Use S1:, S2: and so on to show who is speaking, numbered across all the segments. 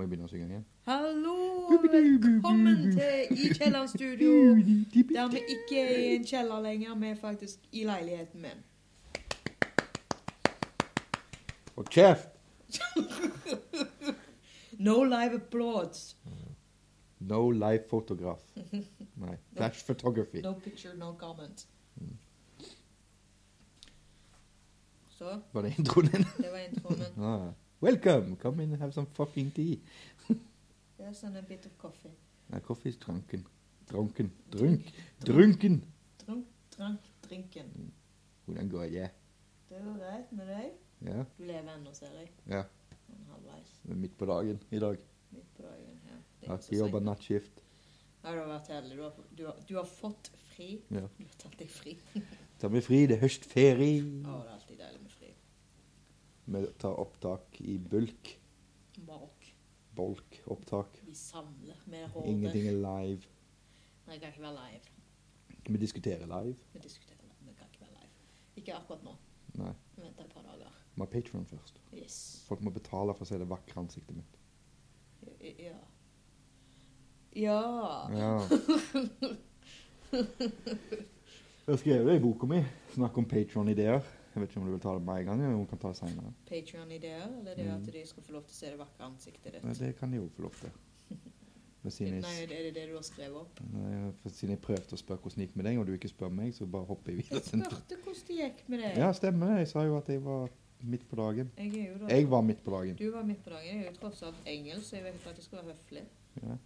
S1: begynne å synge den igjen.
S2: Hallo, og velkommen til I kjelleren studio. Der vi ikke er i en kjeller lenger, vi er faktisk i leiligheten min.
S1: Og kjeft!
S2: No live applause.
S1: No live photograph. Nei. Flash photography.
S2: No picture, no comment. Så,
S1: Var det introen din?
S2: det var introen.
S1: Ah. Welcome! Come in and have some fucking tea.
S2: Yes, and a bit of coffee.
S1: Nei, kaffe is drunken. Drunken. Drunk. Drunken!
S2: Drunk, drank, drinken.
S1: Hvordan går det?
S2: Det går greit med deg.
S1: Ja,
S2: Du lever ennå, ser jeg.
S1: ja.
S2: Sånn halvveis
S1: Det er midt på dagen i dag.
S2: midt på dagen. Ja, det
S1: Jeg
S2: er
S1: har
S2: ikke så
S1: ikke jobba
S2: sent.
S1: nattskift.
S2: Ja, du har vært heldig. Du har, du har, du har fått fri.
S1: Ja.
S2: Du har tatt deg fri.
S1: Tar vi fri, det er høstferie.
S2: Å, det er alltid deilig med fri.
S1: Vi tar opptak i bulk.
S2: Mark.
S1: Bolk. Opptak.
S2: Vi samler med hodet.
S1: Ingenting er live.
S2: Nei, jeg kan ikke være live.
S1: Vi diskuterer live.
S2: Vi diskuterer det, men jeg kan ikke være live. Ikke akkurat nå.
S1: Nei.
S2: Vi venter et par dager.
S1: Vi har Patron først.
S2: Yes.
S1: Folk må betale for å se det vakre ansiktet mitt.
S2: I- Ja. Ja.
S1: Ja. Jeg har skrevet det i boka mi. Snakk om Patron-ideer. Jeg vet ikke om du vil ta det med en gang, eller om vi kan ta det seinere.
S2: Patreon-ideer, eller det
S1: Mm.
S2: at de skal få lov til å se det vakre ansiktet ditt.
S1: Det kan de jo få lov til. For siden
S2: Nei,
S1: jeg,
S2: er det det du har skrevet opp?
S1: Nei, for siden jeg prøvde å spørre hvordan det gikk med deg, og du ikke spør meg, så bare hopper jeg
S2: Jeg
S1: videre. til-
S2: spurte hvordan det gikk med deg.
S1: Ja, stemmer det. Jeg sa jo at jeg var midt på dagen.
S2: Jeg er jo da...
S1: Jeg var midt på dagen.
S2: Du var midt på dagen. Jeg er jo tross alt engelsk, så jeg vet at jeg skal være høflig.
S1: Ja.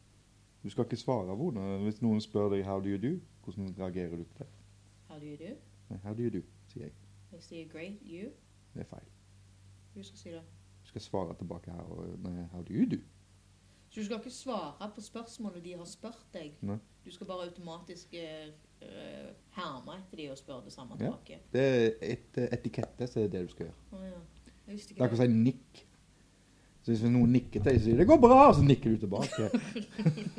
S1: Du skal ikke svare hvordan. Hvis noen spør deg 'how do you do', hvordan reagerer du på det?
S2: How do you do?
S1: Nei, 'how do you do', sier jeg.
S2: Jeg sier great, you.
S1: Det er feil.
S2: Du skal si det.
S1: Du skal svare tilbake her og nei, 'how do you do'.
S2: Så du skal ikke svare på spørsmålet de har spurt deg.
S1: Nei.
S2: Du skal bare automatisk eh, eh, herme etter de og spørre det samme
S1: Ja.
S2: tilbake.
S1: Det er et eh, etikette, så er det det du skal gjøre.
S2: Å ja. Jeg visste
S1: Det er
S2: ikke
S1: akkurat som en nikk. Så hvis noen nikker til deg, så sier du 'det går bra', og så nikker du tilbake.
S2: det.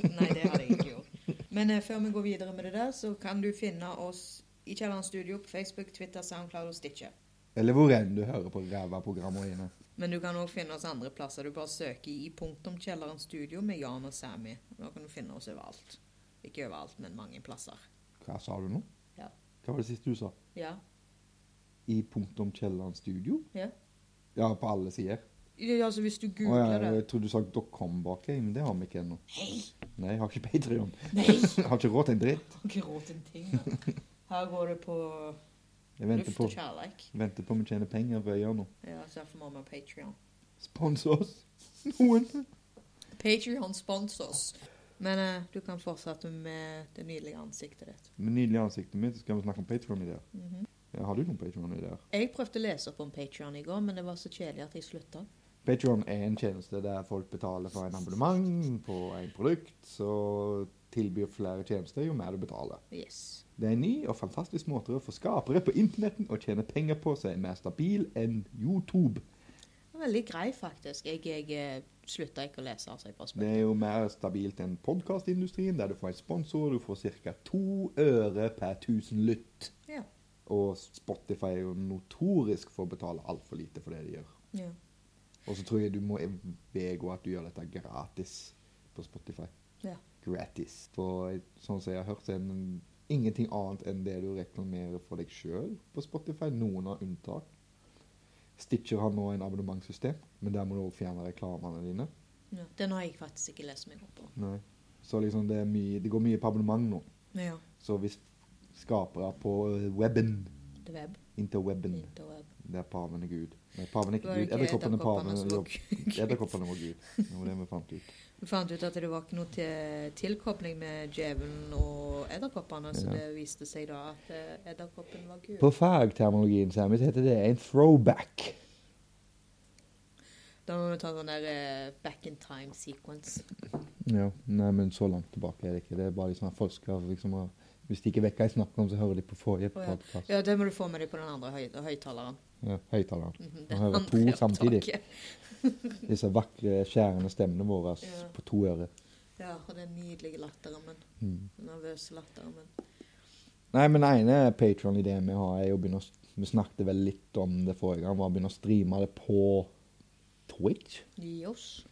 S2: Nei, det hadde jeg ikke gjort. Men eh, før vi går videre med det der, så kan du finne oss i Kjelleren Studio på Facebook, Twitter, Soundcloud og Stitcher.
S1: Eller hvor enn du hører på ræva programmer dine.
S2: Men du kan òg finne oss andre plasser. Du bare søker i punktum Kjelleren Studio med Jan og Sammy. Da kan du finne oss overalt. Ikke overalt, men mange plasser.
S1: Hva sa du nå?
S2: Ja.
S1: Hva var det siste du sa?
S2: Ja.
S1: I punktum Kielland studio?
S2: Ja.
S1: Ja, på alle sider.
S2: Ja, Altså, hvis du
S1: Å, ja,
S2: googler det
S1: jeg trodde du sa .com bak deg, men det har vi ikke ennå.
S2: Hei!
S1: Nei, jeg har ikke Patreon.
S2: Nei!
S1: Jeg har ikke råd til en dritt.
S2: Har ikke råd til en ting. da. Her går det på
S1: Jeg venter
S2: luft
S1: på,
S2: og kjærleik.
S1: venter på om vi tjener penger for å gjøre noe.
S2: Ja, så derfor må vi ha Patreon.
S1: Spons oss! Noen!
S2: Patreon spons oss. Men eh, du kan fortsette med det nydelige ansiktet ditt.
S1: Med nydelig ansiktet mitt så skal vi snakke om Patreon-ideer.
S2: Mhm.
S1: Ja, har du noen Patreon-ideer?
S2: Jeg prøvde å lese opp om Patreon i går, men det var så kjedelig at jeg slutta.
S1: Patreon er en tjeneste der folk betaler for en abonnement på en produkt, så tilbyr flere tjenester jo mer du betaler.
S2: Yes.
S1: Det er en ny og fantastisk måte å få skapere på internetten og tjene penger på som er mer stabil enn YouTube.
S2: Det var Veldig grei, faktisk. Jeg, jeg eh, slutta ikke å lese, altså. Jeg bare
S1: Det
S2: spurte.
S1: er jo mer stabilt enn podkastindustrien, der du får en sponsor, du får ca. to øre per tusen lytt.
S2: Ja.
S1: Og Spotify er jo notorisk for å betale altfor lite for det de gjør.
S2: Ja.
S1: Og så tror jeg du må vedgå at du gjør dette gratis på Spotify.
S2: Ja.
S1: Gratis. For sånn som jeg har hørt, så er det ingenting annet enn det du reklamerer for deg sjøl på Spotify. Noen har unntak. Stitcher har nå en abonnementssystem, men der må du også fjerne reklamene dine.
S2: Ja. Den har jeg faktisk ikke lest meg opp på.
S1: Nei. Så liksom det, er mye, det går mye på abonnement nå.
S2: Ja.
S1: Så hvis skapere på weben,
S2: The web.
S1: interweben,
S2: Interweb.
S1: der paven er Gud Nei, paven er
S2: Det
S1: ikke
S2: var jo
S1: Gud.
S2: ikke
S1: Edderkoppene
S2: edderkoppene
S1: paven
S2: som var
S1: jobb- Edderkoppene var Gud. Det var det vi fant ut.
S2: Vi fant ut at det var ikke noe til tilkobling med djevelen og edderkoppene, så
S1: Ja.
S2: det viste seg da at eh, edderkoppen var gul.
S1: På fagterminologien så heter det en throwback.
S2: Da må vi ta sånn der eh, back in time sequence.
S1: Ja, Nei, men så langt tilbake er det ikke. Det er bare de som har forska. Liksom, og hvis de ikke vet hva jeg snakker om, så hører de på forrige
S2: Å, ja.
S1: podcast.
S2: Ja, det må du få med deg på den andre høy høyttaleren.
S1: Ja, høyttaleren.
S2: Mhm,
S1: Nå hører jeg to
S2: andre
S1: samtidig.
S2: opptaket.
S1: Disse vakre, skjærende stemmene våre
S2: Ja.
S1: på to øre.
S2: Ja, og den nydelige latteren min. Den nervøse latteren min.
S1: Nei, men den ene Patron-ideen vi har, er jo å begynne å s- Vi snakket vel litt om det forrige gang, var å begynne å streame det på Twitch.
S2: Gi oss.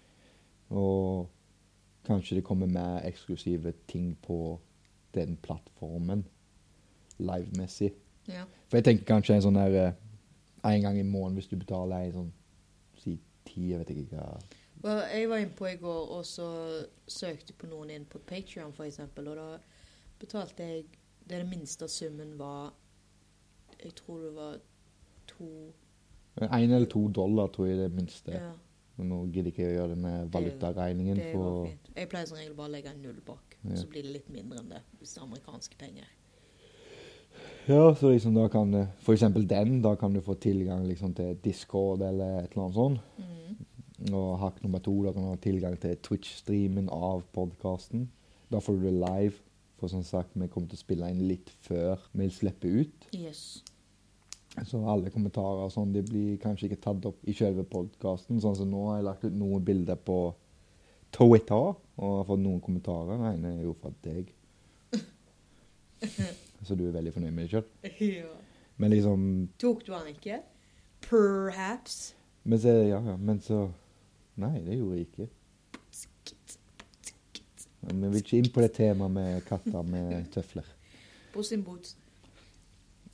S1: Og kanskje det kommer mer eksklusive ting på den plattformen livemessig.
S2: Ja.
S1: For jeg tenker kanskje en sånn der eh, En gang i måneden hvis du betaler en sånn Si ti, jeg vet ikke hva
S2: Og jeg var inne på i går og så søkte på noen inn på Patreon for eksempel, og da betalte jeg det den minste summen var Jeg tror det var to
S1: En eller to dollar tror jeg det er minste.
S2: Ja,
S1: Men nå gidder jeg ikke å gjøre det med valutaregningen
S2: det var
S1: for
S2: fint. Jeg pleier som regel bare å legge en null bak,
S1: Ja.
S2: så blir det litt mindre enn det hvis det er amerikanske penger.
S1: Ja, så liksom da kan du For eksempel den, da kan du få tilgang liksom til Discord eller et eller annet sånt.
S2: Mhm.
S1: Og hakk nummer to, da kan du ha tilgang til Twitch-streamen av podkasten. Da får du det live. For som sagt, vi kommer til å spille inn litt før vi slipper ut.
S2: Yes.
S1: Så alle kommentarer og sånn, de blir kanskje ikke tatt opp i selve podkasten. Sånn som nå har jeg lagt ut noen bilder på Twitter og har fått noen kommentarer. Den ene er jo fra deg. Så du er veldig fornøyd med deg sjøl.
S2: ja.
S1: Men liksom
S2: Tok du han ikke? Perhaps.
S1: Men så, ja, ja, men så Nei, det gjorde jeg ikke. Men vi vil ikke inn på det temaet med katter med tøfler.
S2: På sin bot.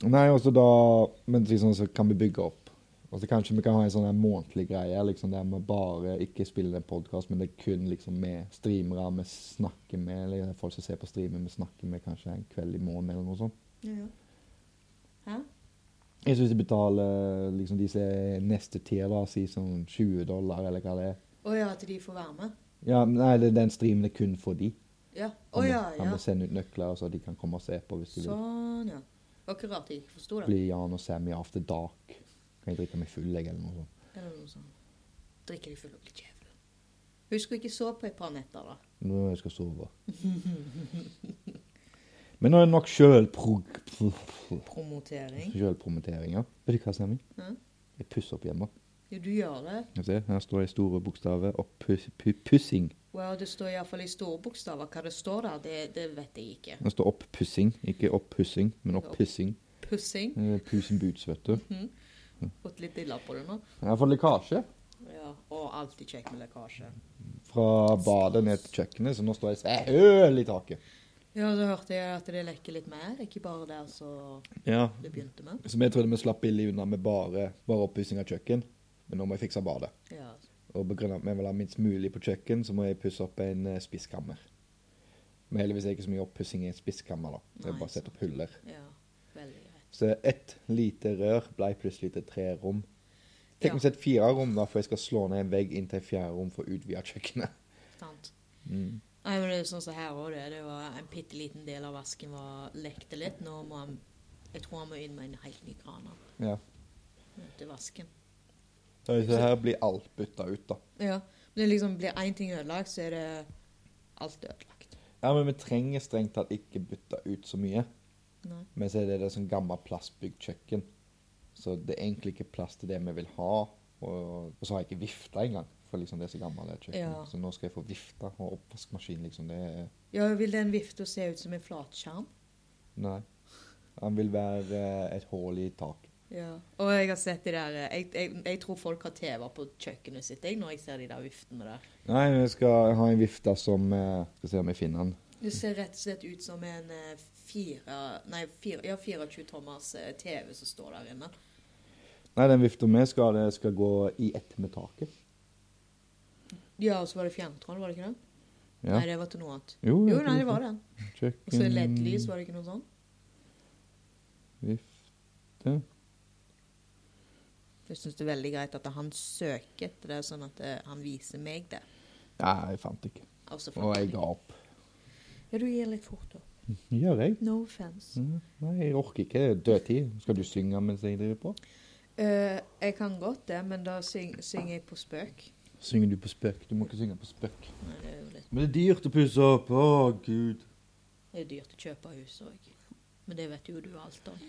S1: Nei, også da Men liksom, så kan vi bygge opp. Og så kanskje vi kan ha en sånn her månedlig greie liksom, der vi bare ikke spiller en podkast, men det er kun liksom med streamere vi snakker med, eller folk som ser på streamen vi snakker med kanskje en kveld i måneden eller noe sånt.
S2: Ja, ja. Hæ?
S1: Jeg syns de betaler liksom de som er neste tier, da, si sånn 20 dollar eller hva det er.
S2: Å ja, at de får være med?
S1: Ja, nei, det- den streamen er kun for de.
S2: Ja. Å
S1: Han må-
S2: ja,
S1: Han
S2: ja.
S1: må sende ut nøkler, så de kan komme og se på hvis de vil.
S2: Sånn, ja. Det var ikke rart jeg ikke forsto det.
S1: Blir Jan og Sam i After Dark. Kan jeg drikke meg full, jeg, eller noe sånt.
S2: Eller noe sånt. Drikker de full og blir djevel. Husker jeg ikke så på et par netter, da.
S1: Nå jeg skal sove. Men nå er det nok sjølprog-
S2: Promotering.
S1: sjølpromoteringer. Vet du hva, Sammy?
S2: Hæ?
S1: Jeg pusser opp hjemme.
S2: Jo, du gjør det.
S1: Skal vi se, Her står det i store bokstaver og pus, pu, pussing.
S2: Well, det står iallfall i store bokstaver hva det står der. Det, det vet jeg ikke.
S1: Det står oppussing. Ikke oppussing, men oppussing.
S2: Pussing.
S1: Eh, Pusen boots, vet du.
S2: Fått litt dilla på det nå.
S1: Jeg har fått lekkasje
S2: Ja, Og alltid kjekk med lekkasje.
S1: fra badet ned til kjøkkenet, så nå står jeg svæhøl i taket.
S2: Ja, så hørte jeg at det lekker litt mer. Ikke bare der som
S1: Ja,
S2: det begynte med.
S1: Som jeg trodde vi slapp billig unna med bare, bare oppussing av kjøkken. Men nå må jeg fikse badet.
S2: Ja.
S1: Og begrunnet at vi vil ha minst mulig på kjøkken, så må jeg pusse opp en eh, spiskammer. Men heldigvis er det ikke så mye oppussing i en spiskammer, da. Det er
S2: Nei,
S1: bare å sette opp huller.
S2: ja. Veldig greit.
S1: Så ett lite rør ble plutselig til tre rom. Tenk om
S2: Ja.
S1: jeg setter fire rom, da, for jeg skal slå ned en vegg inn til et fjerde rom for å utvide kjøkkenet.
S2: Sant.
S1: Mm.
S2: Nei, men det er sånn som her også, det. Det var en bitte liten del av vasken var lekte litt. Nå må han Jeg tror han må inn med en helt ny kran han,
S1: Ja.
S2: til vasken.
S1: Så her blir alt bytta ut, da.
S2: Ja. Men det liksom blir én ting ødelagt, så er det alt ødelagt.
S1: Ja, men vi trenger strengt tatt ikke bytta ut så mye.
S2: Nei.
S1: Men så er det det sånn gammel plastbygd kjøkken. Så det er egentlig ikke plass til det vi vil ha. Og, og så har jeg ikke vifta engang, for liksom det er så gammelt det kjøkkenet.
S2: Ja.
S1: Så nå skal jeg få vifte og oppvaskmaskin, liksom. Det er
S2: Ja, vil den vifta se ut som en flatskjerm?
S1: Nei. Han vil være eh, et hull i taket.
S2: Ja. Og jeg har sett de der eh, Jeg, jeg, jeg tror folk har TV på kjøkkenet sitt, jeg, når jeg ser de der viftene der.
S1: Nei, vi skal ha en vifte som eh, Skal se om jeg finner den.
S2: Det ser rett og slett ut som en eh, fire... Nei, fire, ja, 24 tommers eh, TV som står der inne.
S1: Nei, den vifta vi skal ha, det skal gå i ett med taket.
S2: Ja, og så var det fjerntroll, var det ikke det?
S1: Ja. Mm.
S2: Nei, det var til noe annet.
S1: Jo,
S2: Jo, nei, det var det.
S1: Kjøkken
S2: Og så LED-lys, var det ikke noe sånt?
S1: Vifte
S2: Jeg syns det er veldig greit at han søker etter det, sånn at eh, han viser meg det. Altså,
S1: Nei, jeg fant ikke.
S2: Og så
S1: Og
S2: fant
S1: jeg
S2: jeg
S1: ga opp.
S2: Ja, du gir litt fort, da.
S1: Gjør jeg?
S2: No offense.
S1: Mm, Nei, jeg orker ikke. Det er dødtid. Skal du synge mens jeg driver på?
S2: Eh, jeg kan godt det, men da syng, synger jeg på spøk.
S1: Synger du på spøk? Du må ikke synge på spøk.
S2: Nei, det er jo litt
S1: Men det er dyrt å pusse opp. Å, gud.
S2: Det er dyrt å kjøpe hus òg. Men det vet jo du alt om.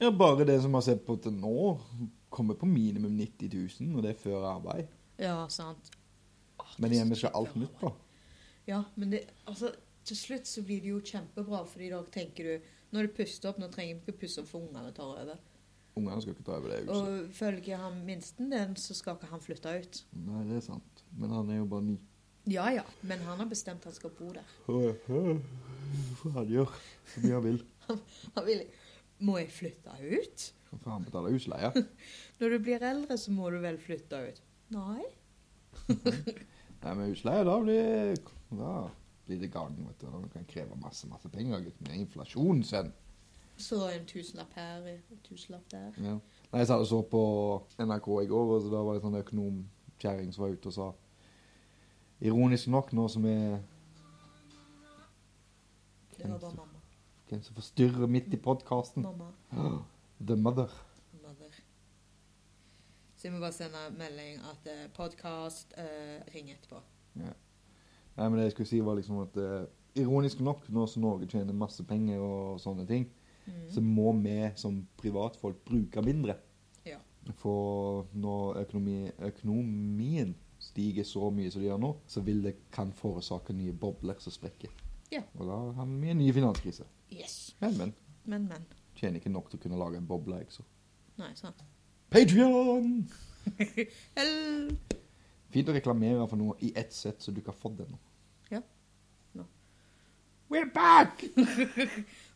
S1: Ja, bare det som jeg har sett på til nå, kommer på minimum 90 000, og det er før arbeid.
S2: Ja, sant. Åh,
S1: Men
S2: Ah, det er
S1: igjen,
S2: så
S1: vi skal
S2: kjipt
S1: alt
S2: å
S1: nytt, da.
S2: Ja, men det, altså, til slutt så blir det jo kjempebra, fordi da tenker du Nå er det pustet opp, nå trenger vi ikke pusse opp for ungene tar over.
S1: Ungene skal ikke ta over det huset.
S2: Og følger han minsten den, så skal ikke han flytte ut.
S1: Nei, det er sant. Men han er jo bare ni.
S2: Ja ja, men han har bestemt han skal bo der.
S1: Han gjør så mye han vil.
S2: Han vil Må jeg flytte ut?
S1: For han betaler husleie.
S2: Når du blir eldre, så må du vel flytte ut? Nei.
S1: Nei, men husleie, da blir, da blir det gang, vet du. Han kan kreve masse, masse penger, gutt. Med inflasjon, sønn.
S2: Så en tusenlapp her, en tusenlapp der.
S1: Ja. Nei, jeg satt og så på NRK i går, og så da var det en sånn økonomkjerring som var ute og sa Ironisk nok, nå som er
S2: Det var bare mamma.
S1: hvem som forstyrrer midt i podkasten
S2: Mamma.
S1: The Mother.
S2: Mother. Så jeg må bare sende melding at eh, podcast, eh, ring etterpå.
S1: Nei, men det jeg skulle si, var liksom at eh, ironisk nok, nå som Norge tjener masse penger og sånne ting, så må vi som privatfolk bruke mindre.
S2: Ja.
S1: For når økonomi, økonomien stiger så mye som det gjør nå, så vil det kan forårsake nye bobler som sprekker.
S2: Ja.
S1: Og da har vi en ny finanskrise.
S2: Yes.
S1: Men, men.
S2: Men, men.
S1: Tjener ikke nok til å kunne lage en boble, jeg, så.
S2: Nei, sant.
S1: Patreon!
S2: Hell.
S1: Fint å reklamere for noe i ett sett, så du ikke har fått det nå.
S2: Ja. Nå.
S1: We're back!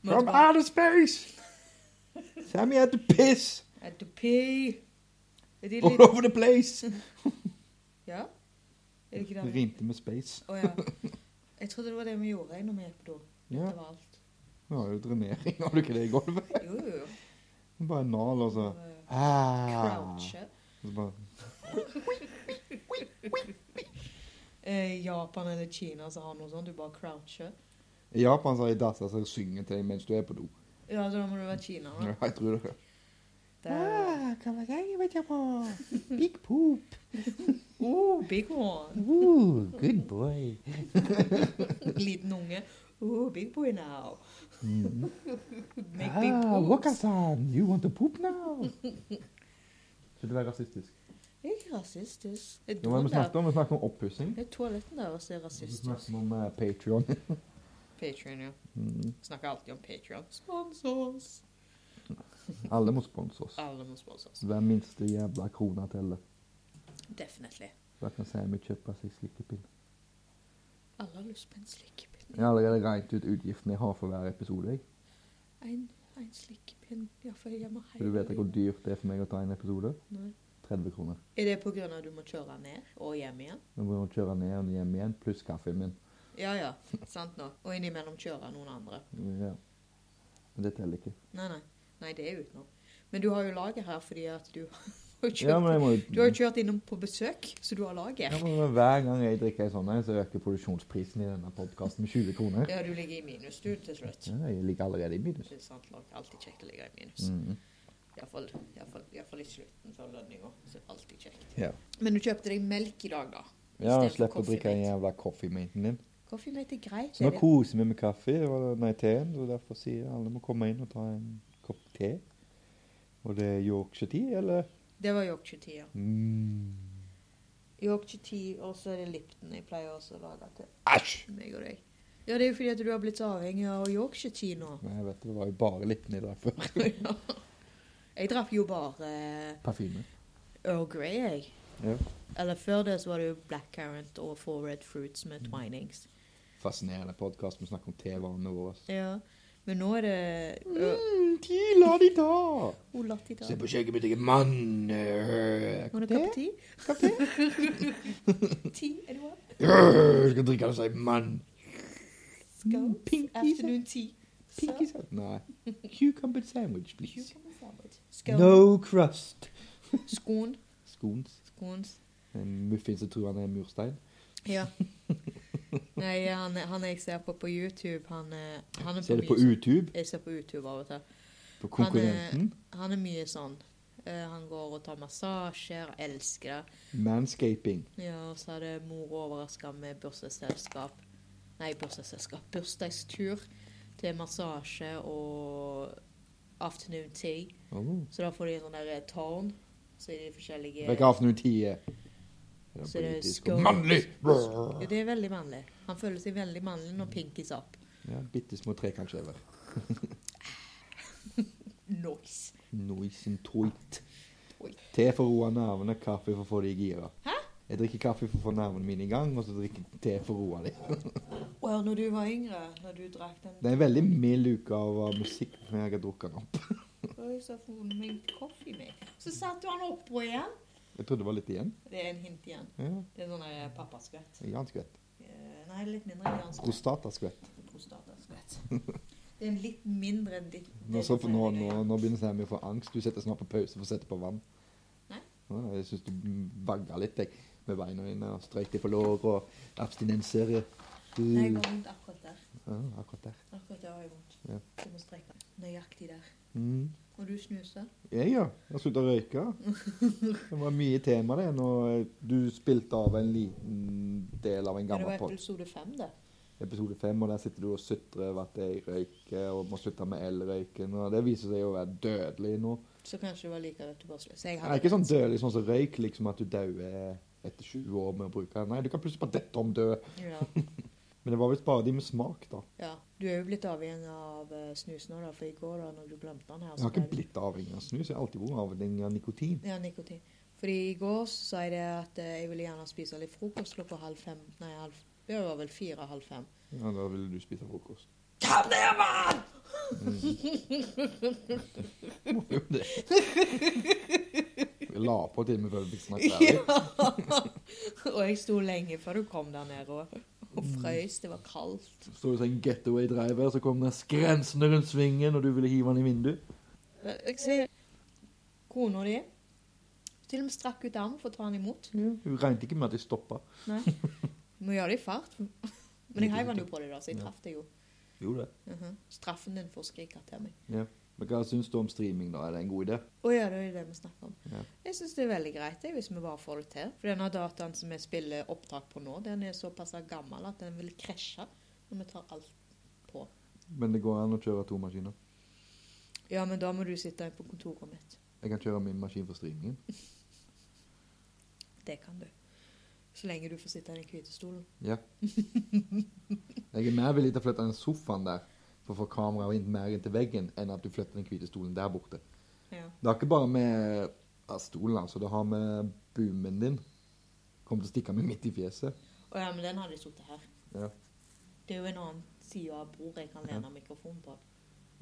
S1: From outer space! Sammy had to piss
S2: At the pee. Er de
S1: all
S2: litt...
S1: over the place.
S2: Ja? Er det ikke
S1: Det
S2: det?
S1: rimte med space.
S2: Å ja. Jeg trodde det var det vi gjorde jeg, når vi gikk på do.
S1: Ja,
S2: Det var alt.
S1: det var jo drenering, har du ikke det i gulvet?
S2: Jo, jo, jo.
S1: Bare en nal, og så
S2: Eh,
S1: ah.
S2: Crouche.
S1: Så bare,
S2: Eh, Japan eller Kina som har noe sånt. Du bare croucher.
S1: I Japan så har de dassa som synger til deg mens du er på do.
S2: Ja, så da må du være Kina, da.
S1: Ja, jeg tror det.
S2: Der.
S1: Ah, Kamasagi, vet jeg på. Big poop.
S2: Oh, big one.
S1: Ooh, good boy.
S2: Liten unge. Oh, big boy now.
S1: Mm.
S2: Make big poops.
S1: Wakasan, Ah, you want to poop now? Skal du være rasistisk?
S2: Det er ikke rasistisk. Det er
S1: Jo, men
S2: doen
S1: vi snakket
S2: der.
S1: om, vi snakket om oppussing.
S2: Det er toaletten deres som er
S1: Vi
S2: rasistisk.
S1: snakket om uh, Patreon.
S2: Patreon, ja.
S1: Mm.
S2: Snakker alltid om Patreon. Spons oss.
S1: Alle må sponse oss.
S2: Alle må sponse oss.
S1: Hver minste jævla krona teller.
S2: Definitely.
S1: Da kan Sammy kjøpe seg slikkepinn.
S2: Alle har lyst på en slikkepinn.
S1: Jeg har allerede regnet ut utgiftene jeg har for hver episode. Jeg.
S2: En, en slikkepinn. Ja, for jeg må
S1: For du vet ikke hvor dyrt det er for meg å ta en episode?
S2: Nei.
S1: 30 kroner.
S2: Er det på grunn av at du må kjøre ned og hjem igjen?
S1: Nå må jeg kjøre ned og hjem igjen, pluss kaffen min.
S2: Ja, ja. Sant nå. Og innimellom kjøre noen andre.
S1: Ja. Men det teller ikke.
S2: Nei, nei. Nei, det er utenom. Men du har jo laget her fordi at du har kjørt,
S1: Ja, men jeg må
S2: du har
S1: jo...
S2: jo kjørt innom på besøk, så du har laget.
S1: Ja, men Hver gang jeg drikker en sånn, en, så øker produksjonsprisen i denne podkasten med 20 kroner.
S2: Ja, du ligger i minus, du, til slutt.
S1: Ja, jeg ligger allerede i minus.
S2: Det er sant, det er alltid kjekt å ligge i minus.
S1: Mhm.
S2: Iallfall i slutten før lønninga. Så er det alltid kjekt.
S1: Ja.
S2: Men du kjøpte deg melk i dag, da.
S1: Ja,
S2: Istedenfor
S1: slipp å drikke den
S2: Coffee
S1: jævla coffee-maten din.
S2: Coffee-mate er greit.
S1: Så nå
S2: det er det.
S1: koser vi med kaffe, og- nei, teen, så derfor sier jeg alle må komme inn og ta en kopp te. Og det er Yorkshire tea, eller?
S2: Det var Yorkshire tea, ja.
S1: Mm.
S2: Yorkshire tea, og så er det Lipton jeg pleier også å lage til
S1: Æsj!
S2: meg og deg. Ja, det er jo fordi at du har blitt så avhengig av Yorkshire tea nå.
S1: Men jeg vet det var jo bare liten i dag før.
S2: Ja. Jeg drakk jo bare
S1: Parfyme.
S2: Earl Grey, jeg.
S1: Ja.
S2: Eller før det så var det jo blackcurrant og four red fruits
S1: Mm.
S2: med twinings.
S1: Fascinerende podkast, vi snakker om tevanene våre.
S2: Ja. Men nå er det eh, Ø-
S1: Mm, te la de ta!
S2: Oh, latte i dag.
S1: skjegget mitt, jeg er mann! øh,
S2: Må du ha
S1: te?
S2: kopp te? Te, anyone?
S1: Øh, Skal drikke det og si mann.
S2: Skål.
S1: Pinky
S2: Afternoon tea.
S1: Pinky
S2: Mm. Skål.
S1: sa- Nei. Cucumber sandwich, please.
S2: Cucumber sandwich. Skål.
S1: No crust.
S2: Skål.
S1: Scones.
S2: Skål.
S1: En muffins som tror han er en murstein.
S2: Ja. Nei, han, han jeg ser på på YouTube, han, eh, han er
S1: Ser det på
S2: mye-
S1: YouTube,
S2: Jeg ser på YouTube av og til.
S1: på konkurrenten.
S2: Han er mye sånn. Eh, han går og tar massasjer, elsker det.
S1: Manscaping.
S2: Ja, og så hadde mor overraska med bursdagsselskap Nei, bursdagsselskap. Bursdagstur til massasje og afternoon tea.
S1: Oh.
S2: Så da får de en sånn der eh, tårn. Så er de forskjellige
S1: Vekk aften ut ti. er det
S2: Så det er
S1: politisk
S2: skål.
S1: og Mannlig! Brrr.
S2: Ja, Det er veldig mannlig. Han føler seg veldig mannlig når Pinky sa opp.
S1: Ja, Bitte små trekantslever.
S2: Nice.
S1: Noise and toit.
S2: Oi.
S1: Te for å roe nervene, kaffe for å få de i gira. Jeg drikker kaffe for å få nervene mine i gang, og så drikker jeg te for å roe dem.
S2: Å ja, når du var yngre, når du drakk den
S1: Det er en veldig mild uke av uh, musikk som jeg har drukket nå.
S2: Oi, så får hun meg kaffe med. Så satte han oppå igjen.
S1: Jeg trodde det var litt igjen.
S2: Det er en hint igjen.
S1: Ja,
S2: Det er sånn der pappaskvett.
S1: Janskvett.
S2: Eh, Nei, litt mindre enn janskvett.
S1: Prostataskvett.
S2: Prostataskvett. Det er en litt mindre enn ditt.
S1: Nå, så, for nå, nå, nå begynner jeg å få angst. Du setter snart på pause for å sette på vann.
S2: Nei.
S1: Ja, Jeg syns du vagga litt jeg, med beina dine og strøyk deg på låret og abstinenser.
S2: Nei, jeg
S1: Mm.
S2: har vondt akkurat der.
S1: Ja, akkurat der.
S2: Akkurat der har jeg vondt.
S1: Ja.
S2: Du må strekke nøyaktig der.
S1: Mm.
S2: Og du snuser.
S1: Jeg, ja. Jeg har sluttet å røyke. Det var mye tema, det, når du spilte av en liten del av en
S2: Ja, det
S1: gammel
S2: var
S1: pod.
S2: episode fem, det.
S1: Episode fem, og der sitter du og sutrer over at jeg røyker og må slutte med elrøyken. Og det viser seg å være dødelig nå.
S2: Så kanskje det var like rett du bare slår. Så jeg
S1: Det er
S2: hadde
S1: ikke sånn dødelig sånn som røyk, liksom at du dauer etter 20 år med å bruke den. Nei, du kan plutselig bare dette om død.
S2: Ja.
S1: Men det var visst bare de med smak, da.
S2: ja. Du er jo blitt avhengig av eh, snus nå, da, for i går da når du glemte den her
S1: Jeg har
S2: ble
S1: ikke
S2: du-
S1: blitt avhengig av snus. Jeg har alltid vært avhengig av nikotin.
S2: Ja, nikotin. Fordi i går så sa jeg det at eh, jeg ville gjerne spise litt frokost klokka halv fem. Nei, halv, det var vel fire, halv fem.
S1: Ja, Da ville du spise frokost. Mm.
S2: Kom ned, mann!
S1: Må jo det. Jeg la på til og med før vi fikk snakket ferdig.
S2: Ja. og jeg sto lenge før du kom der nede og, og frøys. Det var kaldt.
S1: Så det en getaway driver, så kom den skrensende rundt svingen, og du ville hive den i vinduet.
S2: Men Jeg ser kona di til og med strakk ut armen for å ta den imot.
S1: Hun regnet ikke med at jeg stoppa.
S2: Nei. Må gjøre det i fart. Men jeg heiv den jo på deg, da, så jeg traff deg jo.
S1: Gjorde det.
S2: Mhm. Straffen din for å skrike til meg.
S1: Ja. Men hva syns du om streaming, da? Er det en god idé?
S2: Å ja, det er det vi snakker om.
S1: Ja.
S2: Jeg syns det er veldig greit det, hvis vi bare får det til. For denne dataen som vi spiller opptak på nå, den er såpass gammel at den vil krasje når vi tar alt på.
S1: Men det går an å kjøre to maskiner.
S2: Ja, men da må du sitte på kontoret mitt.
S1: Jeg kan kjøre min maskin for streamingen.
S2: Det kan du. Så lenge du får sitte i den hvite stolen.
S1: Ja. Jeg er mer villig til å flytte den sofaen der for å få kameraet inn mer inntil veggen, enn at du flytter den hvite stolen der borte.
S2: Ja.
S1: Det har ikke bare med ja, stolen, altså. Det har med boomen din. Kommer til å stikke meg midt i fjeset.
S2: Å ja, men den hadde jeg sittet her.
S1: Ja.
S2: Det er jo en annen side av bordet jeg kan lene mikrofonen på.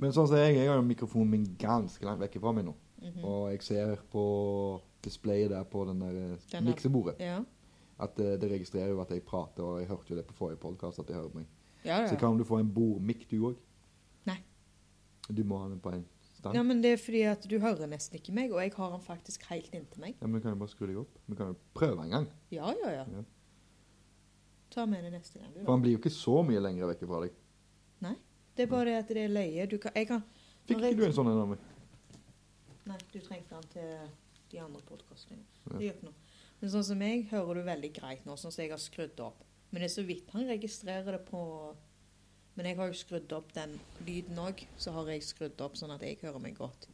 S1: Men sånn som jeg, jeg har jo mikrofonen min ganske langt vekk fra meg nå.
S2: Mhm.
S1: Og jeg ser på displayet der på den der eh,
S2: Den er-
S1: miksebordet
S2: Ja.
S1: at eh, det registrerer jo at jeg prater, og jeg hørte jo det på forrige podkast at jeg hører meg.
S2: Ja,
S1: Så kan du få en bordmikk, du òg?
S2: Nei.
S1: Du må ha den på en stang?
S2: ja, men det er fordi at du hører nesten ikke meg, og jeg har den faktisk helt inntil meg.
S1: Ja, men vi kan jo bare skru deg opp. Vi kan jo prøve en gang.
S2: Ja, ja, ja.
S1: Ja.
S2: Ta med det neste gang, du,
S1: For
S2: da.
S1: han blir jo ikke så mye lenger vekk fra deg.
S2: Det er bare det at det er løye. Du kan, jeg kan
S1: Fikk
S2: Når jeg-
S1: ikke du en sånn en av meg?
S2: Nei, du trengte den til de andre podkastene.
S1: Ja.
S2: Det gjør ikke noe. Men sånn som meg hører du veldig greit nå, sånn som jeg har skrudd opp. Men det er så vidt han registrerer det på Men jeg har jo skrudd opp den lyden òg, så har jeg skrudd opp sånn at jeg hører meg godt.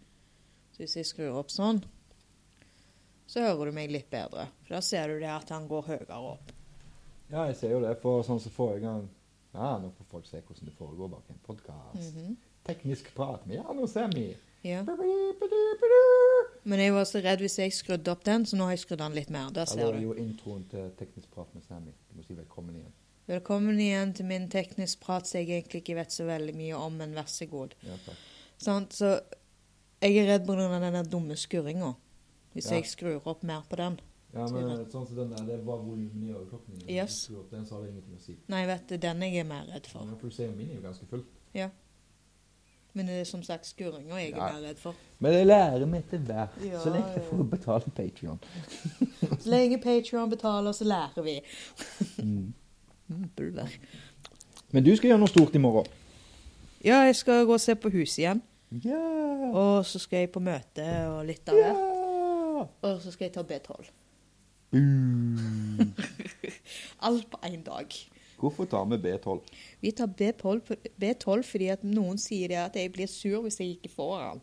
S2: Så hvis jeg skrur opp sånn, så hører du meg litt bedre. For da ser du det at han går høyere opp.
S1: Ja, jeg ser jo det, for sånn som forrige gang Ja, nå får folk se hvordan det foregår bak en podkast.
S2: Mhm.
S1: Teknisk prat med Ja, nå ser vi.
S2: Ja.
S1: Da
S2: Men jeg var så redd hvis jeg skrudde opp den, så nå har jeg skrudd den litt mer. Der ser
S1: var
S2: du.
S1: jo introen til Teknisk prat med Sammy. Du må si velkommen igjen.
S2: Velkommen igjen til min teknisk prat som jeg egentlig ikke vet så veldig mye om, men vær så god.
S1: Ja, takk.
S2: Sant? Så jeg er redd pga. den der dumme skurringa. Hvis
S1: Ja.
S2: jeg skrur opp mer på den.
S1: Ja, men sånn som den der, det var volumen i øreklokken din.
S2: Yes.
S1: Du skrur opp Den så har det ingenting å si.
S2: Nei, vet du, den jeg er mer redd
S1: Ja,
S2: for.
S1: for du ser min er jo ganske full.
S2: Men det er som sagt skurringa jeg er
S1: Ja.
S2: mer redd for.
S1: Men det lærer vi etter hvert,
S2: Ja,
S1: så lenge jeg
S2: ja.
S1: får betalt Patreon.
S2: Så lenge Patreon betaler, så lærer vi. Mm, Buller.
S1: Men du skal gjøre noe stort i morgen.
S2: Ja, jeg skal gå og se på huset igjen.
S1: Ja!
S2: Og så skal jeg på møte og litt av
S1: Ja!
S2: hvert. Og så skal jeg ta B12.
S1: Uh.
S2: Alt på én dag.
S1: Hvorfor tar vi B12?
S2: Vi tar B12, på- B12 fordi at noen sier det at jeg blir sur hvis jeg ikke får den.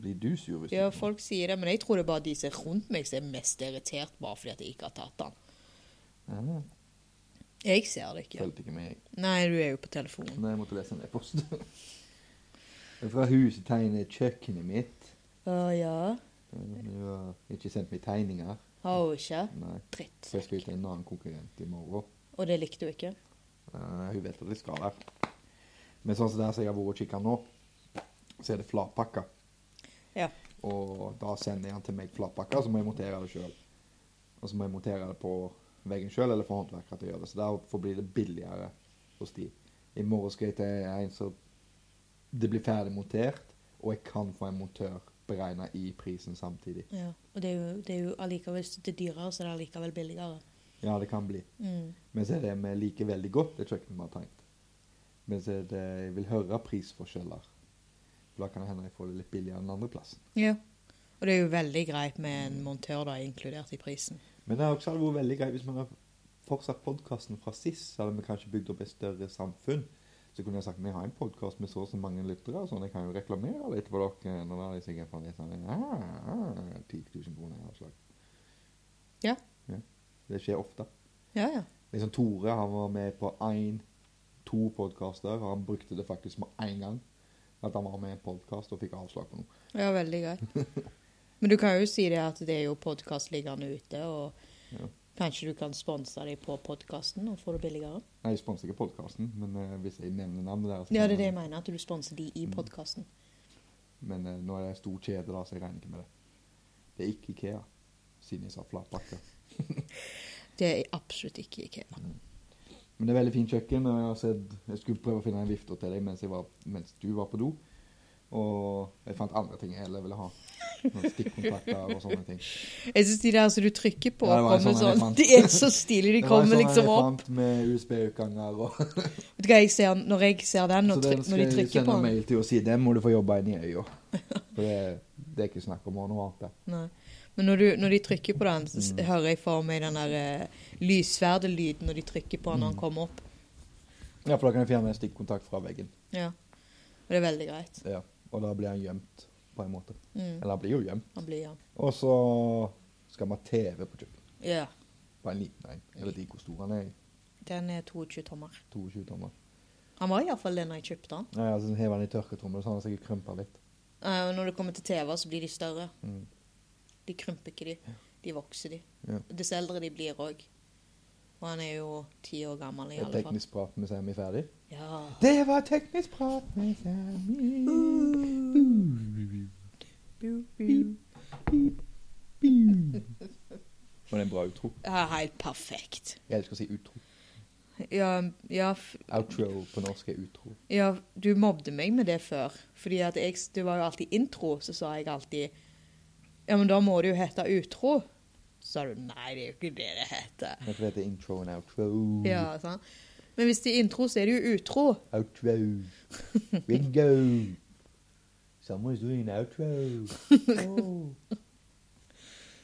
S1: Blir du sur hvis
S2: Ja,
S1: du
S2: folk sier det, men jeg tror det er bare de som er rundt meg som er mest irritert bare fordi at jeg ikke har tatt den.
S1: Ja,
S2: Jeg ser det ikke.
S1: Følte ikke med, jeg.
S2: Nei, du er jo på telefonen.
S1: Nei, jeg måtte lese en e-post. Fra huset tegner kjøkkenet mitt.
S2: Å ja.
S1: Du har ikke sendt meg tegninger.
S2: Har hun ikke?
S1: Nei.
S2: Dritt.
S1: Så jeg skal ut til en annen konkurrent i morgen.
S2: Og det likte hun ikke?
S1: Eh, hun vet at jeg skal der. Men sånn som der som jeg har vært og kikket nå, så er det flatpakka.
S2: Ja.
S1: Og da sender jeg den til meg flatpakka, så må jeg montere det sjøl. Og så må jeg montere det på veggen sjøl, eller få håndverkere til å gjøre det. Så derfor blir det billigere hos de. I morgen skal jeg til en som Det blir ferdig montert, og jeg kan få en montør beregna i prisen samtidig.
S2: ja. Og det er jo, det er jo allikevel hvis det er dyrere, så er det allikevel billigere.
S1: Ja, det kan bli.
S2: Mm.
S1: Men så er det vi liker veldig godt, det kjøkkenet vi har tenkt. Men så er det, jeg vil høre prisforskjeller. For da kan det hende jeg får det litt billigere enn andre plassen.
S2: Ja. Og det er jo veldig greit med en montør da, inkludert i prisen.
S1: Men det har også vært veldig greit hvis vi hadde fortsatt podkasten fra sist, så hadde vi kanskje bygd opp et større samfunn. Så kunne jeg sagt vi har en podkast med så og så mange lyttere, og sånn, jeg kan jo reklamere litt for dere. Nå hadde jeg sikkert fått litt sånn ah, ah, 10 000 kroner i avslag.
S2: Ja.
S1: ja. Det skjer ofte.
S2: Ja, ja.
S1: Liksom Tore han var med på én, to podkaster, og han brukte det faktisk med én gang. At han var med i en podkast og fikk avslag på noe.
S2: Ja, veldig greit. Men du kan jo si det at det er jo podkast liggende ute, og
S1: Ja.
S2: kanskje du kan sponse dem på podkasten og få det billigere?
S1: Nei, Jeg sponser ikke podkasten, men eh, hvis jeg nevner navnet deres
S2: Ja, det er det jeg mener, at du sponser de i
S1: Mm.
S2: podkasten.
S1: Men eh, nå er det en stor kjede, da, så jeg regner ikke med det. Det er ikke Ikea, siden jeg sa flatbakke.
S2: Det er absolutt ikke IKEA.
S1: Men det er veldig fint kjøkken. og Jeg, har sett, jeg skulle prøve å finne en vifte til deg mens, jeg var, mens du var på do. Og jeg fant andre ting jeg heller ville ha. Noen Stikkontakter og sånne ting.
S2: Jeg syns de der som du trykker på,
S1: Ja, det var en
S2: kommer
S1: sånn jeg
S2: sånn
S1: fant.
S2: De er så stilige, de
S1: Det var en
S2: kommer
S1: sånn
S2: liksom
S1: jeg
S2: opp.
S1: fant Med USB-utganger og
S2: Vet du hva jeg ser når jeg ser den,
S1: Så
S2: når,
S1: den
S2: tryk, når
S1: skal
S2: de
S1: jeg
S2: trykker
S1: sende
S2: på
S1: en
S2: den?
S1: mail til og si den må du få jobba inn i øya. For det, det er ikke snakk om å ha noe annet. der.
S2: Nei. Men når, du, når de trykker på den, så
S1: Mm.
S2: s- hører jeg for meg den der uh, lyssverdelyden når de trykker på den
S1: Mm.
S2: når den kommer opp.
S1: Ja, for da kan jeg fjerne en stikkontakt fra veggen.
S2: Ja. Og det er veldig greit.
S1: Ja. Og da blir han gjemt, på en måte.
S2: Mm.
S1: Eller han blir jo gjemt.
S2: Han blir han.
S1: Og så skal vi ha TV på kjøkkenet.
S2: Ja.
S1: På en liten en. Jeg vet ikke hvor stor han er.
S2: Den er 22 tommer.
S1: 22 tommer.
S2: Han var iallfall det når jeg kjøpte den.
S1: Nei, altså, Hever han i tørketrommel, så han har sikkert krympa litt.
S2: Eh, og når det kommer til TV, så blir de større.
S1: Mm.
S2: De krymper ikke, de. De vokser, de.
S1: Ja.
S2: Dess eldre de blir òg. Og han er jo ti år gammel i
S1: Et
S2: alle fall.
S1: teknisk prat med Sammy ferdig.
S2: Ja.
S1: Det var teknisk prat med
S2: Mm.
S1: Sammy. Var det en bra utro?
S2: Ja, helt perfekt.
S1: Jeg elsker å si utro.
S2: Ja, ja, f-
S1: Outro på norsk er utro.
S2: ja, du mobbde meg med det før. Fordi at jeg, det var jo alltid intro, så sa jeg alltid Ja, men da må det jo hete utro. Så sa du nei, det er jo ikke det det heter.
S1: Men for det heter intro og outro.
S2: Ja, sant? Men hvis det er intro, så er det jo utro.
S1: Outro. Ringo. Someone's doing an outro. Oh.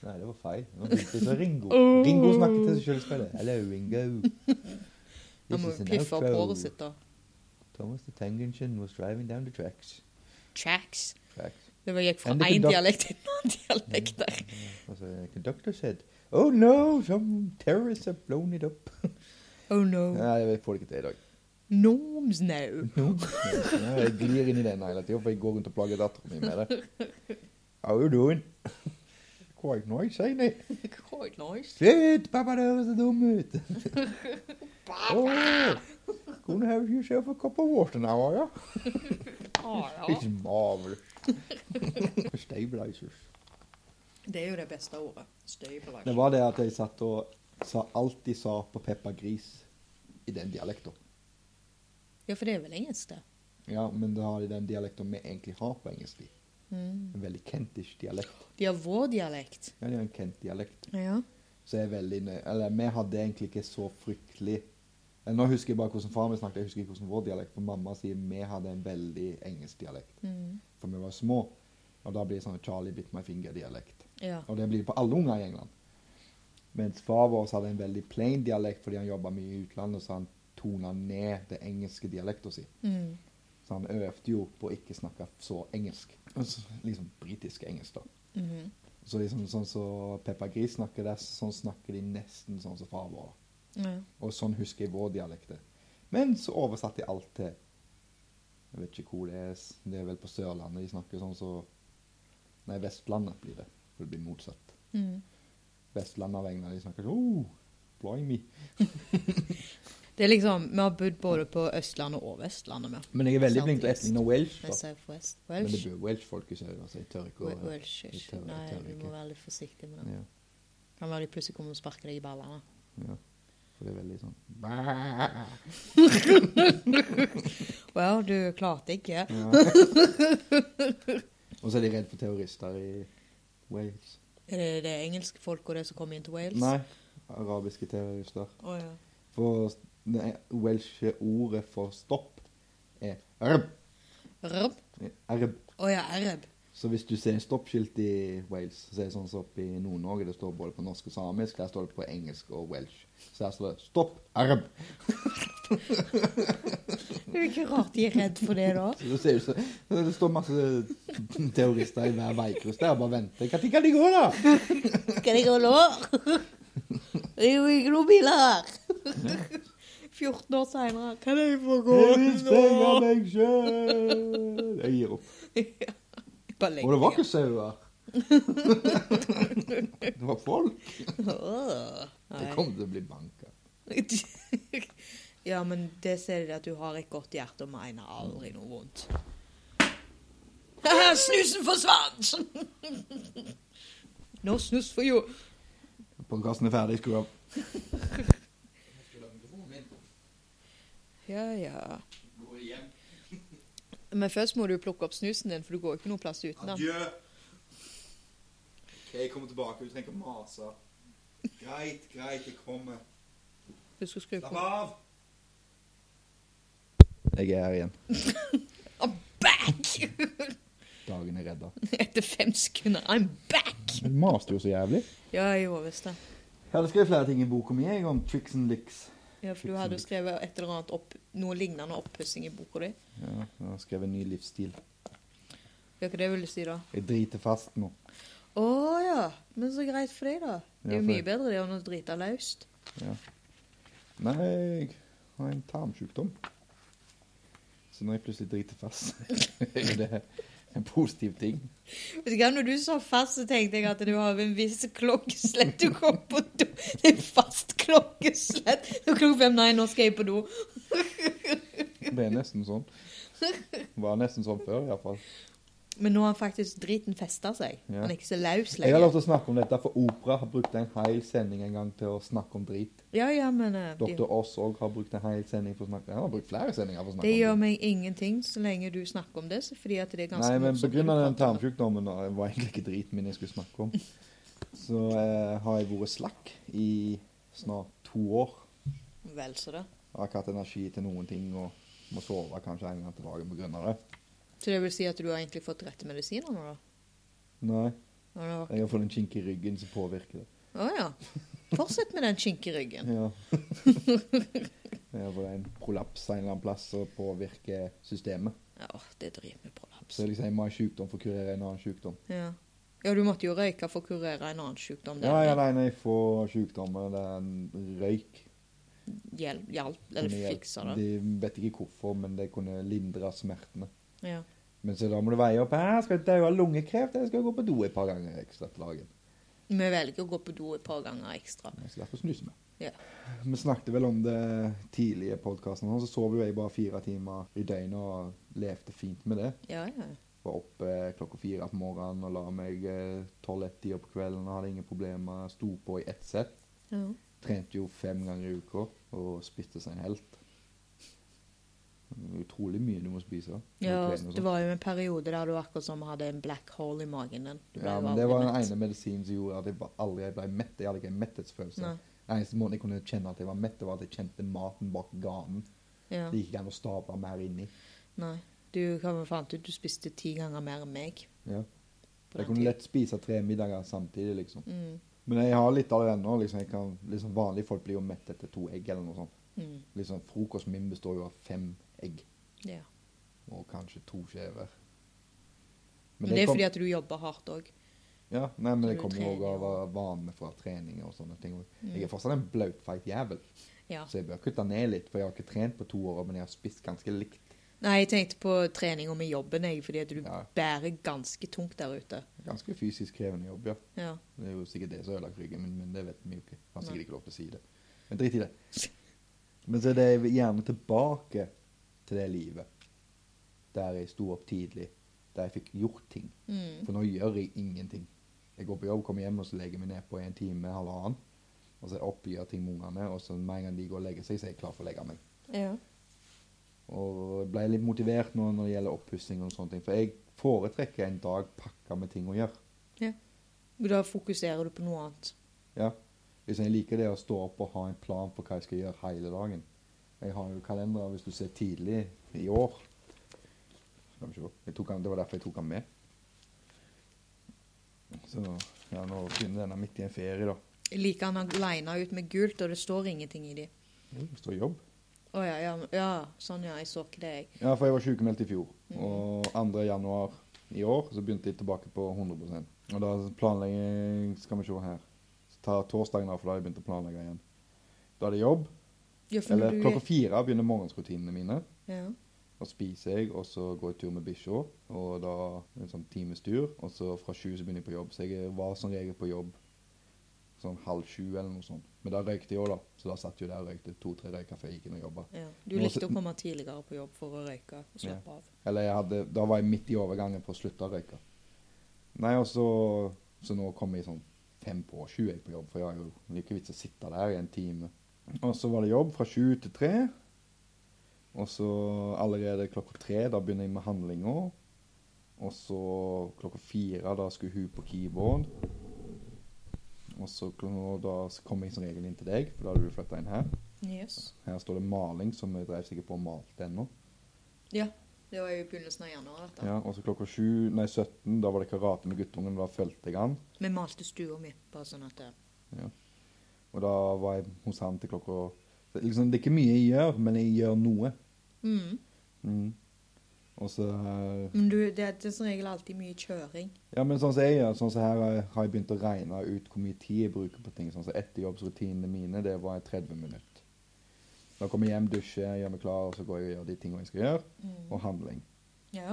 S1: Nei, det var feil. Nå begynte jeg å si Ringo.
S2: Oh.
S1: Ringo snakker til seg selv i spillet. Hello, Ringo.
S2: Jeg må jo piffe opp håret sitt, da.
S1: Thomas the Tank Engine was driving down the tracks.
S2: Tracks.
S1: tracks.
S2: Det var- gikk fra
S1: Men det
S2: én
S1: kunne da-
S2: dialekt til en annen dialekt
S1: Mm.
S2: der.
S1: As a conductor said, oh no, some terrorists have blown it up. Ah,
S2: Oh no.
S1: Nei, jeg får det ikke til i dag.
S2: Norms no.
S1: No. Ja, jeg glir inn i den hele tiden, for jeg går rundt og plager datteren min med det. How you doing? Quite nice, ain't it?
S2: Quite nice.
S1: Slutt! Pappa, det høres så dum ut. Oh, Gonna have yourself a cup of water now, ja?
S2: Ah, ja.
S1: Ikke mavel. Stabilizers.
S2: Det er jo det beste ordet. Støybelag.
S1: Det var det at jeg satt og sa alt de sa på Peppa Gris i den dialekten.
S2: Ja, for det er vel engelsk, det.
S1: Ja, men da har de den dialekten vi egentlig har på engelsk. de. En veldig kentish dialekt.
S2: De har vår dialekt.
S1: Ja, de har en kent-dialekt.
S2: Ja.
S1: Så jeg er veldig nøy... Eller, vi hadde egentlig ikke så fryktelig Eller, Nå husker jeg bare hvordan far min snakket, jeg husker ikke hvordan vår dialekt For mamma sier vi hadde en veldig engelsk dialekt.
S2: Mm.
S1: For vi var små. Og da blir det sånn Charlie bit my finger-dialekt.
S2: ja.
S1: Og det blir det på alle unger i England. Mens far vår hadde en veldig plain dialekt fordi han jobba mye i utlandet, så han tona ned det engelske dialekten sin.
S2: Mm.
S1: Så han øvde jo på å ikke snakke så engelsk. Altså, Liksom britisk engelsk, da.
S2: Mhm.
S1: Så liksom sånn som så Peppa Gris snakker der, sånn snakker de nesten sånn som far vår.
S2: ja.
S1: Og sånn husker jeg vår dialekt. Men så oversatte jeg alt til Jeg vet ikke hvor det er. s- Det er vel på Sørlandet de snakker sånn som så, Nei, Vestlandet blir det. For det blir motsatt.
S2: Mm.
S1: Vestlandet av England. De snakker sånn oh, Blimey.
S2: Det er liksom, Vi har bodd både på Østlandet og Vestlandet. med.
S1: Men jeg er veldig flink til å
S2: Southeast.
S1: etterligne welsh.
S2: Men
S1: Da.
S2: Southwest
S1: Men det
S2: Welsh
S1: bor welsh-folk i Sør, altså. Jeg tør ikke
S2: Wel-
S1: å
S2: Welsh
S1: jeg
S2: ikke.
S1: tør- jeg
S2: Nei,
S1: tør
S2: du
S1: ikke.
S2: må være litt forsiktig med det.
S1: ja,
S2: Kan være de plutselig kommer og sparker deg i ballene.
S1: ja. For det er veldig sånn
S2: Well, du klarte ikke.
S1: ja. Og så er de redd for terrorister i Wales.
S2: Er det det engelske folk og det som kommer inn til Wales?
S1: Nei, arabiske terrorister.
S2: Å, ja.
S1: For det welske ordet for stopp er erb.
S2: Rub?
S1: erb.
S2: Å ja, arab.
S1: Så hvis du ser stoppskilt i Wales, så er det sånn som oppe i Nord-Norge, det står både på norsk og samisk, der står det på engelsk og welsh. Så der står det 'stopp erb'.
S2: Det er jo ikke rart de er redd for det, da.
S1: Så det ser ut som det står masse terrorister i hver veikryss der og bare venter. Når kan de gå, da?
S2: Skal jeg gå nå? Det er jo ikke noen biler her. 14 år seinere. Kan jeg få gå
S1: Jeg vil sprenge
S2: nå?
S1: meg sjøl. Jeg gir opp.
S2: Bare
S1: Og det var ikke sauer. Det var folk. Det
S2: Nei.
S1: kom til å bli banka.
S2: ja, men det ser de at du har et godt hjerte og mener aldri noe vondt. Haha, Snusen forsvant! Nå snus for jo
S1: Podkasten er ferdig, skru av.
S2: Ja, ja. Men først må du plukke opp snusen din, for du går ikke noe plass uten den.
S1: OK, jeg kommer tilbake. Du trenger ikke mase. Greit, greit, jeg kommer.
S2: Husk å skru på
S1: av! Jeg er her igjen.
S2: I'm back!
S1: Dagen er redda.
S2: Etter fem sekunder. I'm back!
S1: Du maste jo så jævlig.
S2: Ja, jeg gjorde visst det.
S1: Jeg hadde skrevet flere ting i boka mi jeg, om tricks and licks.
S2: Ja, for du hadde jo skrevet et eller annet opp, noe lignende oppussing i boka di.
S1: Ja, jeg har skrevet en ny livsstil.
S2: Hva er det jeg ville si, da?
S1: Jeg driter fast nå.
S2: Å ja. Men så greit for deg, da. Det
S1: Ja,
S2: er jo
S1: for-
S2: mye bedre det enn å drite løst.
S1: Nei, jeg har en tarmsykdom. Så når jeg plutselig driter fast, er det en positiv ting.
S2: Vet du hva, Når du sa fast, så tenkte jeg at du har en viss klokkeslett. Du kom på do. Det er fast klokkeslett. Det er klokka fem. Nei, nå skal jeg på do.
S1: Det er nesten sånn. Var nesten sånn før, iallfall.
S2: Men nå har faktisk driten festa seg.
S1: Ja.
S2: Han er ikke så løs
S1: Jeg har lov
S2: lenger.
S1: til å snakke om dette, for Opera har brukt en hel sending en gang til å snakke om drit.
S2: Ja, ja, men eh,
S1: Dr.
S2: de,
S1: Oss òg har brukt en hel sending for å snakke Han har brukt flere sendinger for å snakke
S2: det gjør
S1: om
S2: meg ingenting så lenge du snakker om det. så Fordi at det er ganske
S1: Nei, men
S2: morsomt når du
S1: begrunnet den
S2: prater om det.
S1: tarmsykdommen og det var egentlig ikke driten min jeg skulle snakke om, så eh, har jeg vært slakk i snart to år.
S2: Vel så det.
S1: Jeg har ikke hatt energi til noen ting og må sove kanskje en gang til dagen på grunn av det.
S2: Så det vil si at du har egentlig fått rette medisiner nå, da?
S1: Nei,
S2: Nå har du-
S1: jeg har fått en kink i ryggen som påvirker det.
S2: Å ja. Fortsett med den kinkeryggen.
S1: Ja. Jeg har fått en prolaps en eller annen plass som påvirker systemet.
S2: Ja, åh, det driver med prolaps.
S1: Så liksom, jeg må ha en sykdom for å kurere en annen sykdom.
S2: Ja. ja, du måtte jo røyke for å kurere en annen sykdom. Det
S1: Ja, ja, nei, når jeg får sykdommer, det er en røyk.
S2: Hjel- hjalp, eller
S1: Kunne
S2: fiksa
S1: hjelpe-
S2: det.
S1: De vet ikke hvorfor, men det kunne lindre smertene.
S2: Ja.
S1: Men så da må du veie opp. Hæ, skal jeg dø av lungekreft? Jeg skal gå på do et par ganger ekstra på dagen.
S2: Vi velger å gå på do et par ganger ekstra.
S1: Jeg skal derfor snuse meg.
S2: Ja.
S1: Vi snakket vel om det tidlige i podkasten, så sov jo jeg bare fire timer i døgnet og levde fint med det.
S2: Ja, ja.
S1: Var oppe klokka fire på morgenen og la meg eh, tolv-ett-tida på kvelden og hadde ingen problemer. Sto på i ett sett.
S2: ja.
S1: Trente jo fem ganger i uka og spiste seg en helt. Det er Utrolig mye du må spise.
S2: ja altså,
S1: Protein og sånn. sånt.
S2: det var jo en periode der du akkurat som hadde en black hole i magen din. Du ble
S1: Ja,
S2: jo
S1: men
S2: aldri
S1: det var den
S2: mett.
S1: ene medisinen som gjorde at jeg ba- aldri ble mett. Jeg hadde ikke en metthetsfølelse.
S2: Nei.
S1: Den eneste måten jeg kunne kjenne at jeg var mett, det var at jeg kjente maten bak ganen.
S2: Ja.
S1: Det gikk ikke an å stable mer inni.
S2: Nei. Du hva vi fant ut du spiste ti ganger mer enn meg.
S1: Ja. Jeg
S2: på den
S1: kunne
S2: tiden.
S1: lett spise tre middager samtidig, liksom.
S2: Mm,
S1: Men jeg har litt av det ennå. Liksom, jeg kan- liksom, vanlige folk blir jo mett etter to egg eller noe sånt.
S2: mm,
S1: Liksom, frokosten min består jo av fem egg
S2: ja.
S1: og kanskje to skjever.
S2: Men det er fordi at du jobber hardt òg.
S1: Ja, nei, men det
S2: du
S1: kommer jo
S2: trener
S1: også
S2: og-
S1: av vane fra trening og sånne ting. Jeg
S2: Mm.
S1: er fortsatt en blautfeit jævel.
S2: Ja.
S1: Så jeg bør kutte ned litt, for jeg har ikke trent på to år, men jeg har spist ganske likt.
S2: Nei, jeg tenkte på treninga med jobben, jeg, fordi at du
S1: Ja.
S2: bærer ganske tungt der ute.
S1: Ganske fysisk krevende jobb, ja.
S2: Ja.
S1: Det er jo sikkert det som har ødelagt ryggen min, men det vet vi jo ikke. Han har
S2: Nei.
S1: sikkert ikke lov til å si det. Men drit i det. Men så er det gjerne tilbake til det livet der jeg sto opp tidlig, der jeg fikk gjort ting.
S2: Mm.
S1: For nå gjør jeg ingenting. Jeg går på jobb, kommer hjem og så legger jeg meg ned på en time, halvannen. Og så er jeg oppe, gjør ting med ungene, og så med en gang de går og legger seg, så er jeg klar for å legge meg.
S2: ja.
S1: Og ble litt motivert nå når det gjelder oppussing og sånne ting. For jeg foretrekker en dag pakka med ting å gjøre.
S2: Da fokuserer du på noe annet.
S1: Ja. Hvis jeg liker det å stå opp og ha en plan for hva jeg skal gjøre hele dagen. Jeg har jo kalendere, hvis du ser tidlig i år Skal vi se. Jeg tok han, det var derfor jeg tok han med. Så ja, nå begynner denne midt i en ferie, da.
S2: Jeg liker han har lina ut med gult, og det står ingenting i de.
S1: Jo, Det står jobb.
S2: Å ja, ja, ja, sånn ja, jeg så ikke det, jeg.
S1: Ja, for jeg var sykemeldt i fjor.
S2: Mhm.
S1: Og 2. januar i år så begynte jeg tilbake på 100 Og da planlegger jeg Skal vi se her. Så tar torsdagen av, for da har jeg begynt å planlegge igjen. Da er det jobb.
S2: Ja, for når
S1: Eller
S2: du
S1: klokka fire begynner morgensrutinene mine.
S2: Ja.
S1: Da spiser jeg, og så går jeg tur med bikkja. Og da en sånn times tur. Og så fra sju så begynner jeg på jobb. Så jeg var som regel på jobb sånn halv sju eller noe sånt. Men da røykte jeg òg, da. Så da satt jeg jo der og røykte to-tre røyker før jeg gikk inn og jobba.
S2: ja. Du
S1: Nå
S2: likte
S1: sit-
S2: å komme tidligere på jobb for å røyke og slappe av.
S1: Eller jeg hadde, da var jeg midt i overgangen for å slutte å røyke. Nei, og så, så nå kom jeg sånn fem på sju jeg på jobb, for jeg har jo det er ikke vits å sitte der i en time. Og så var det jobb fra sju til tre. Og så allerede klokka tre, da begynner jeg med handlinga. Og så klokka fire, da skulle hun på keyboard. Og så kl- da kom jeg som regel inn til deg, for da hadde du flytta inn her.
S2: Yes.
S1: Her står det maling, som jeg drev sikkert på og malte ennå.
S2: Ja. Det var jo i begynnelsen av januar, dette.
S1: Ja, og så klokka sju, nei 17, da var det karate med guttungen, da fulgte jeg han.
S2: Vi malte stua mi, bare sånn at det-
S1: Og da var jeg hos han til klokka så liksom, Det er ikke mye jeg gjør, men jeg gjør noe.
S2: mm.
S1: Mm. Og så eh,
S2: Men du, det er, det er som regel alltid mye kjøring.
S1: Ja, men sånn som jeg gjør, sånn som her har jeg- har jeg begynt å regne ut hvor mye tid jeg bruker på ting. Sånn som etterjobbsrutinene mine, det var 30 minutter. Da kommer jeg hjem, dusjer, gjør meg klar, og så går jeg og gjør de tingene jeg skal gjøre. Og handling.
S2: Ja.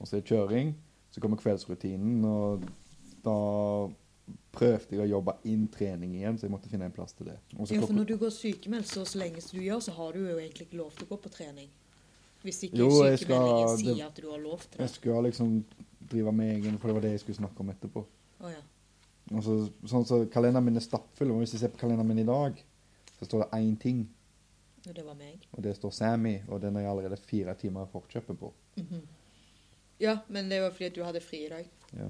S1: Og så er det kjøring. Så kommer kveldsrutinen, og da prøvde jeg å jobbe inn trening igjen, så jeg måtte finne en plass til det. Og så
S2: ja, for
S1: Altså klokka-
S2: når du går sykemeldt så, så lenge som du gjør, så har du jo egentlig ikke lov til å gå på trening. Hvis ikke
S1: Jo, jeg skal-
S2: sykemeldingen sier
S1: det-
S2: at du har lov til
S1: Jeg
S2: det.
S1: skulle liksom drive med egen, for det var det jeg skulle snakke om etterpå.
S2: Å ja.
S1: Og så, sånn så Kalenderen min er stappfull, og hvis jeg ser på kalenderen min i dag, så står det én ting,
S2: Og det var meg.
S1: og det står Sammy, og den er jeg allerede fire timer i forkjøpet på.
S2: Ja, men det var fordi at du hadde fri i dag.
S1: Ja.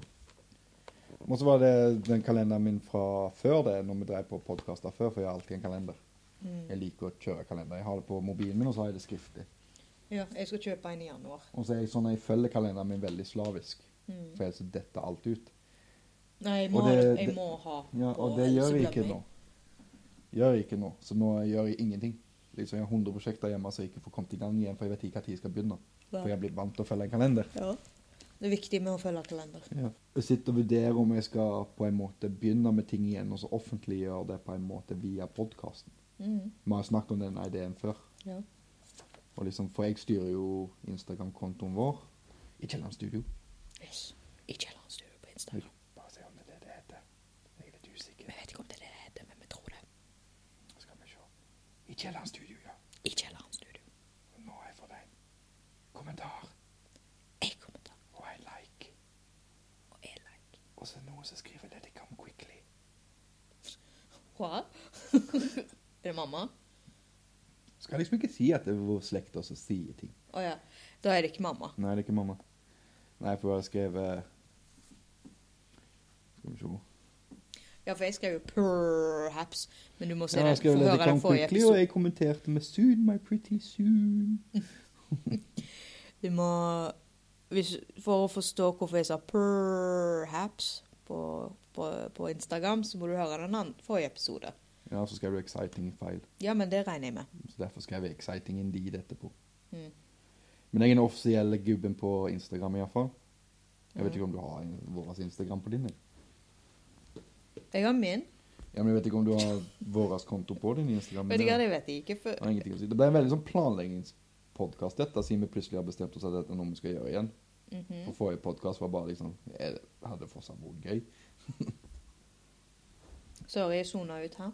S1: Og så var det den kalenderen min fra før det, når vi drev på podkaster før, for jeg har alltid en kalender. Jeg liker å kjøre kalender. Jeg har det på mobilen min, og så har jeg det skriftlig.
S2: Ja, jeg skal kjøpe en i januar.
S1: Og så er jeg sånn at jeg følger kalenderen min veldig slavisk.
S2: Mm.
S1: For ellers detter alt ut.
S2: Nei, jeg må,
S1: Og det-
S2: jeg
S1: det-
S2: må ha
S1: Ja,
S2: på,
S1: og det
S2: ellers
S1: gjør jeg
S2: så
S1: ikke
S2: glemmer
S1: nå. Gjør jeg ikke nå. Så nå gjør jeg ingenting. Liksom, Jeg har 100 prosjekter hjemme så jeg ikke får kommet i gang igjen, for jeg vet ikke når jeg skal begynne. For jeg har blitt vant til å følge en kalender.
S2: Ja. Det er viktig med å følge kalender.
S1: Ja. Jeg sitter og vurderer om jeg skal på en måte begynne med ting igjen, og så offentliggjøre det på en måte via podkasten.
S2: Mm.
S1: Vi har snakket om den ideen før.
S2: Ja.
S1: Og liksom, for jeg styrer jo Instagram-kontoen vår i Kielland Studio.
S2: Yes. Ikke heller en stue på Instagram.
S1: Bare se om det er det det heter. Jeg er litt usikker.
S2: Vi vet ikke om det er det det heter, men vi tror det.
S1: Skal vi se. I Kielland Studio, ja.
S2: Ikke heller en studio.
S1: Nå har jeg fått en kommentar
S2: Jeg kommer til
S1: og en like.
S2: å være like.
S1: Og så er det noen som skriver 'Let it come quickly'.
S2: Hva? er det mamma?
S1: Skal liksom ikke si at det er vår slekt også sier ting.
S2: Å ja. Da er det ikke mamma.
S1: Nei, det er ikke mamma. Nei, for jeg har skrevet Skal vi se.
S2: Ja, for jeg skrev jo 'perhaps', men du må se
S1: Ja, jeg
S2: den.
S1: skrev
S2: Få
S1: 'Let it
S2: høre
S1: come
S2: den forrige
S1: quickly', og
S2: episoden.
S1: jeg kommenterte med 'Soon, my pretty soon'.
S2: Du må hvis, For å forstå hvorfor jeg sa 'perhaps' på, på, på Instagram, så må du høre den an- forrige episode.
S1: Ja, så skrev du 'exciting' feil.
S2: Ja, men det regner jeg med.
S1: Så derfor skrev jeg 'exciting indeed' etterpå.
S2: Mm.
S1: Men jeg er den offisielle gubben på Instagram, iallfall. Jeg vet
S2: Mhm.
S1: ikke om du har en- vår Instagram på din? jeg.
S2: Jeg har min.
S1: Ja, men jeg vet ikke om du har våres konto på din Instagram. men
S2: Vet du hva,
S1: det,
S2: det vet jeg ikke. For,
S1: har ingenting å si. Det ble en veldig sånn podkast, dette, siden vi plutselig har bestemt oss at dette er noe vi skal gjøre igjen.
S2: Mhm. Mm.
S1: For forrige podkast var bare liksom Jeg hadde fortsatt vært gøy.
S2: Sorry, jeg sona ut her.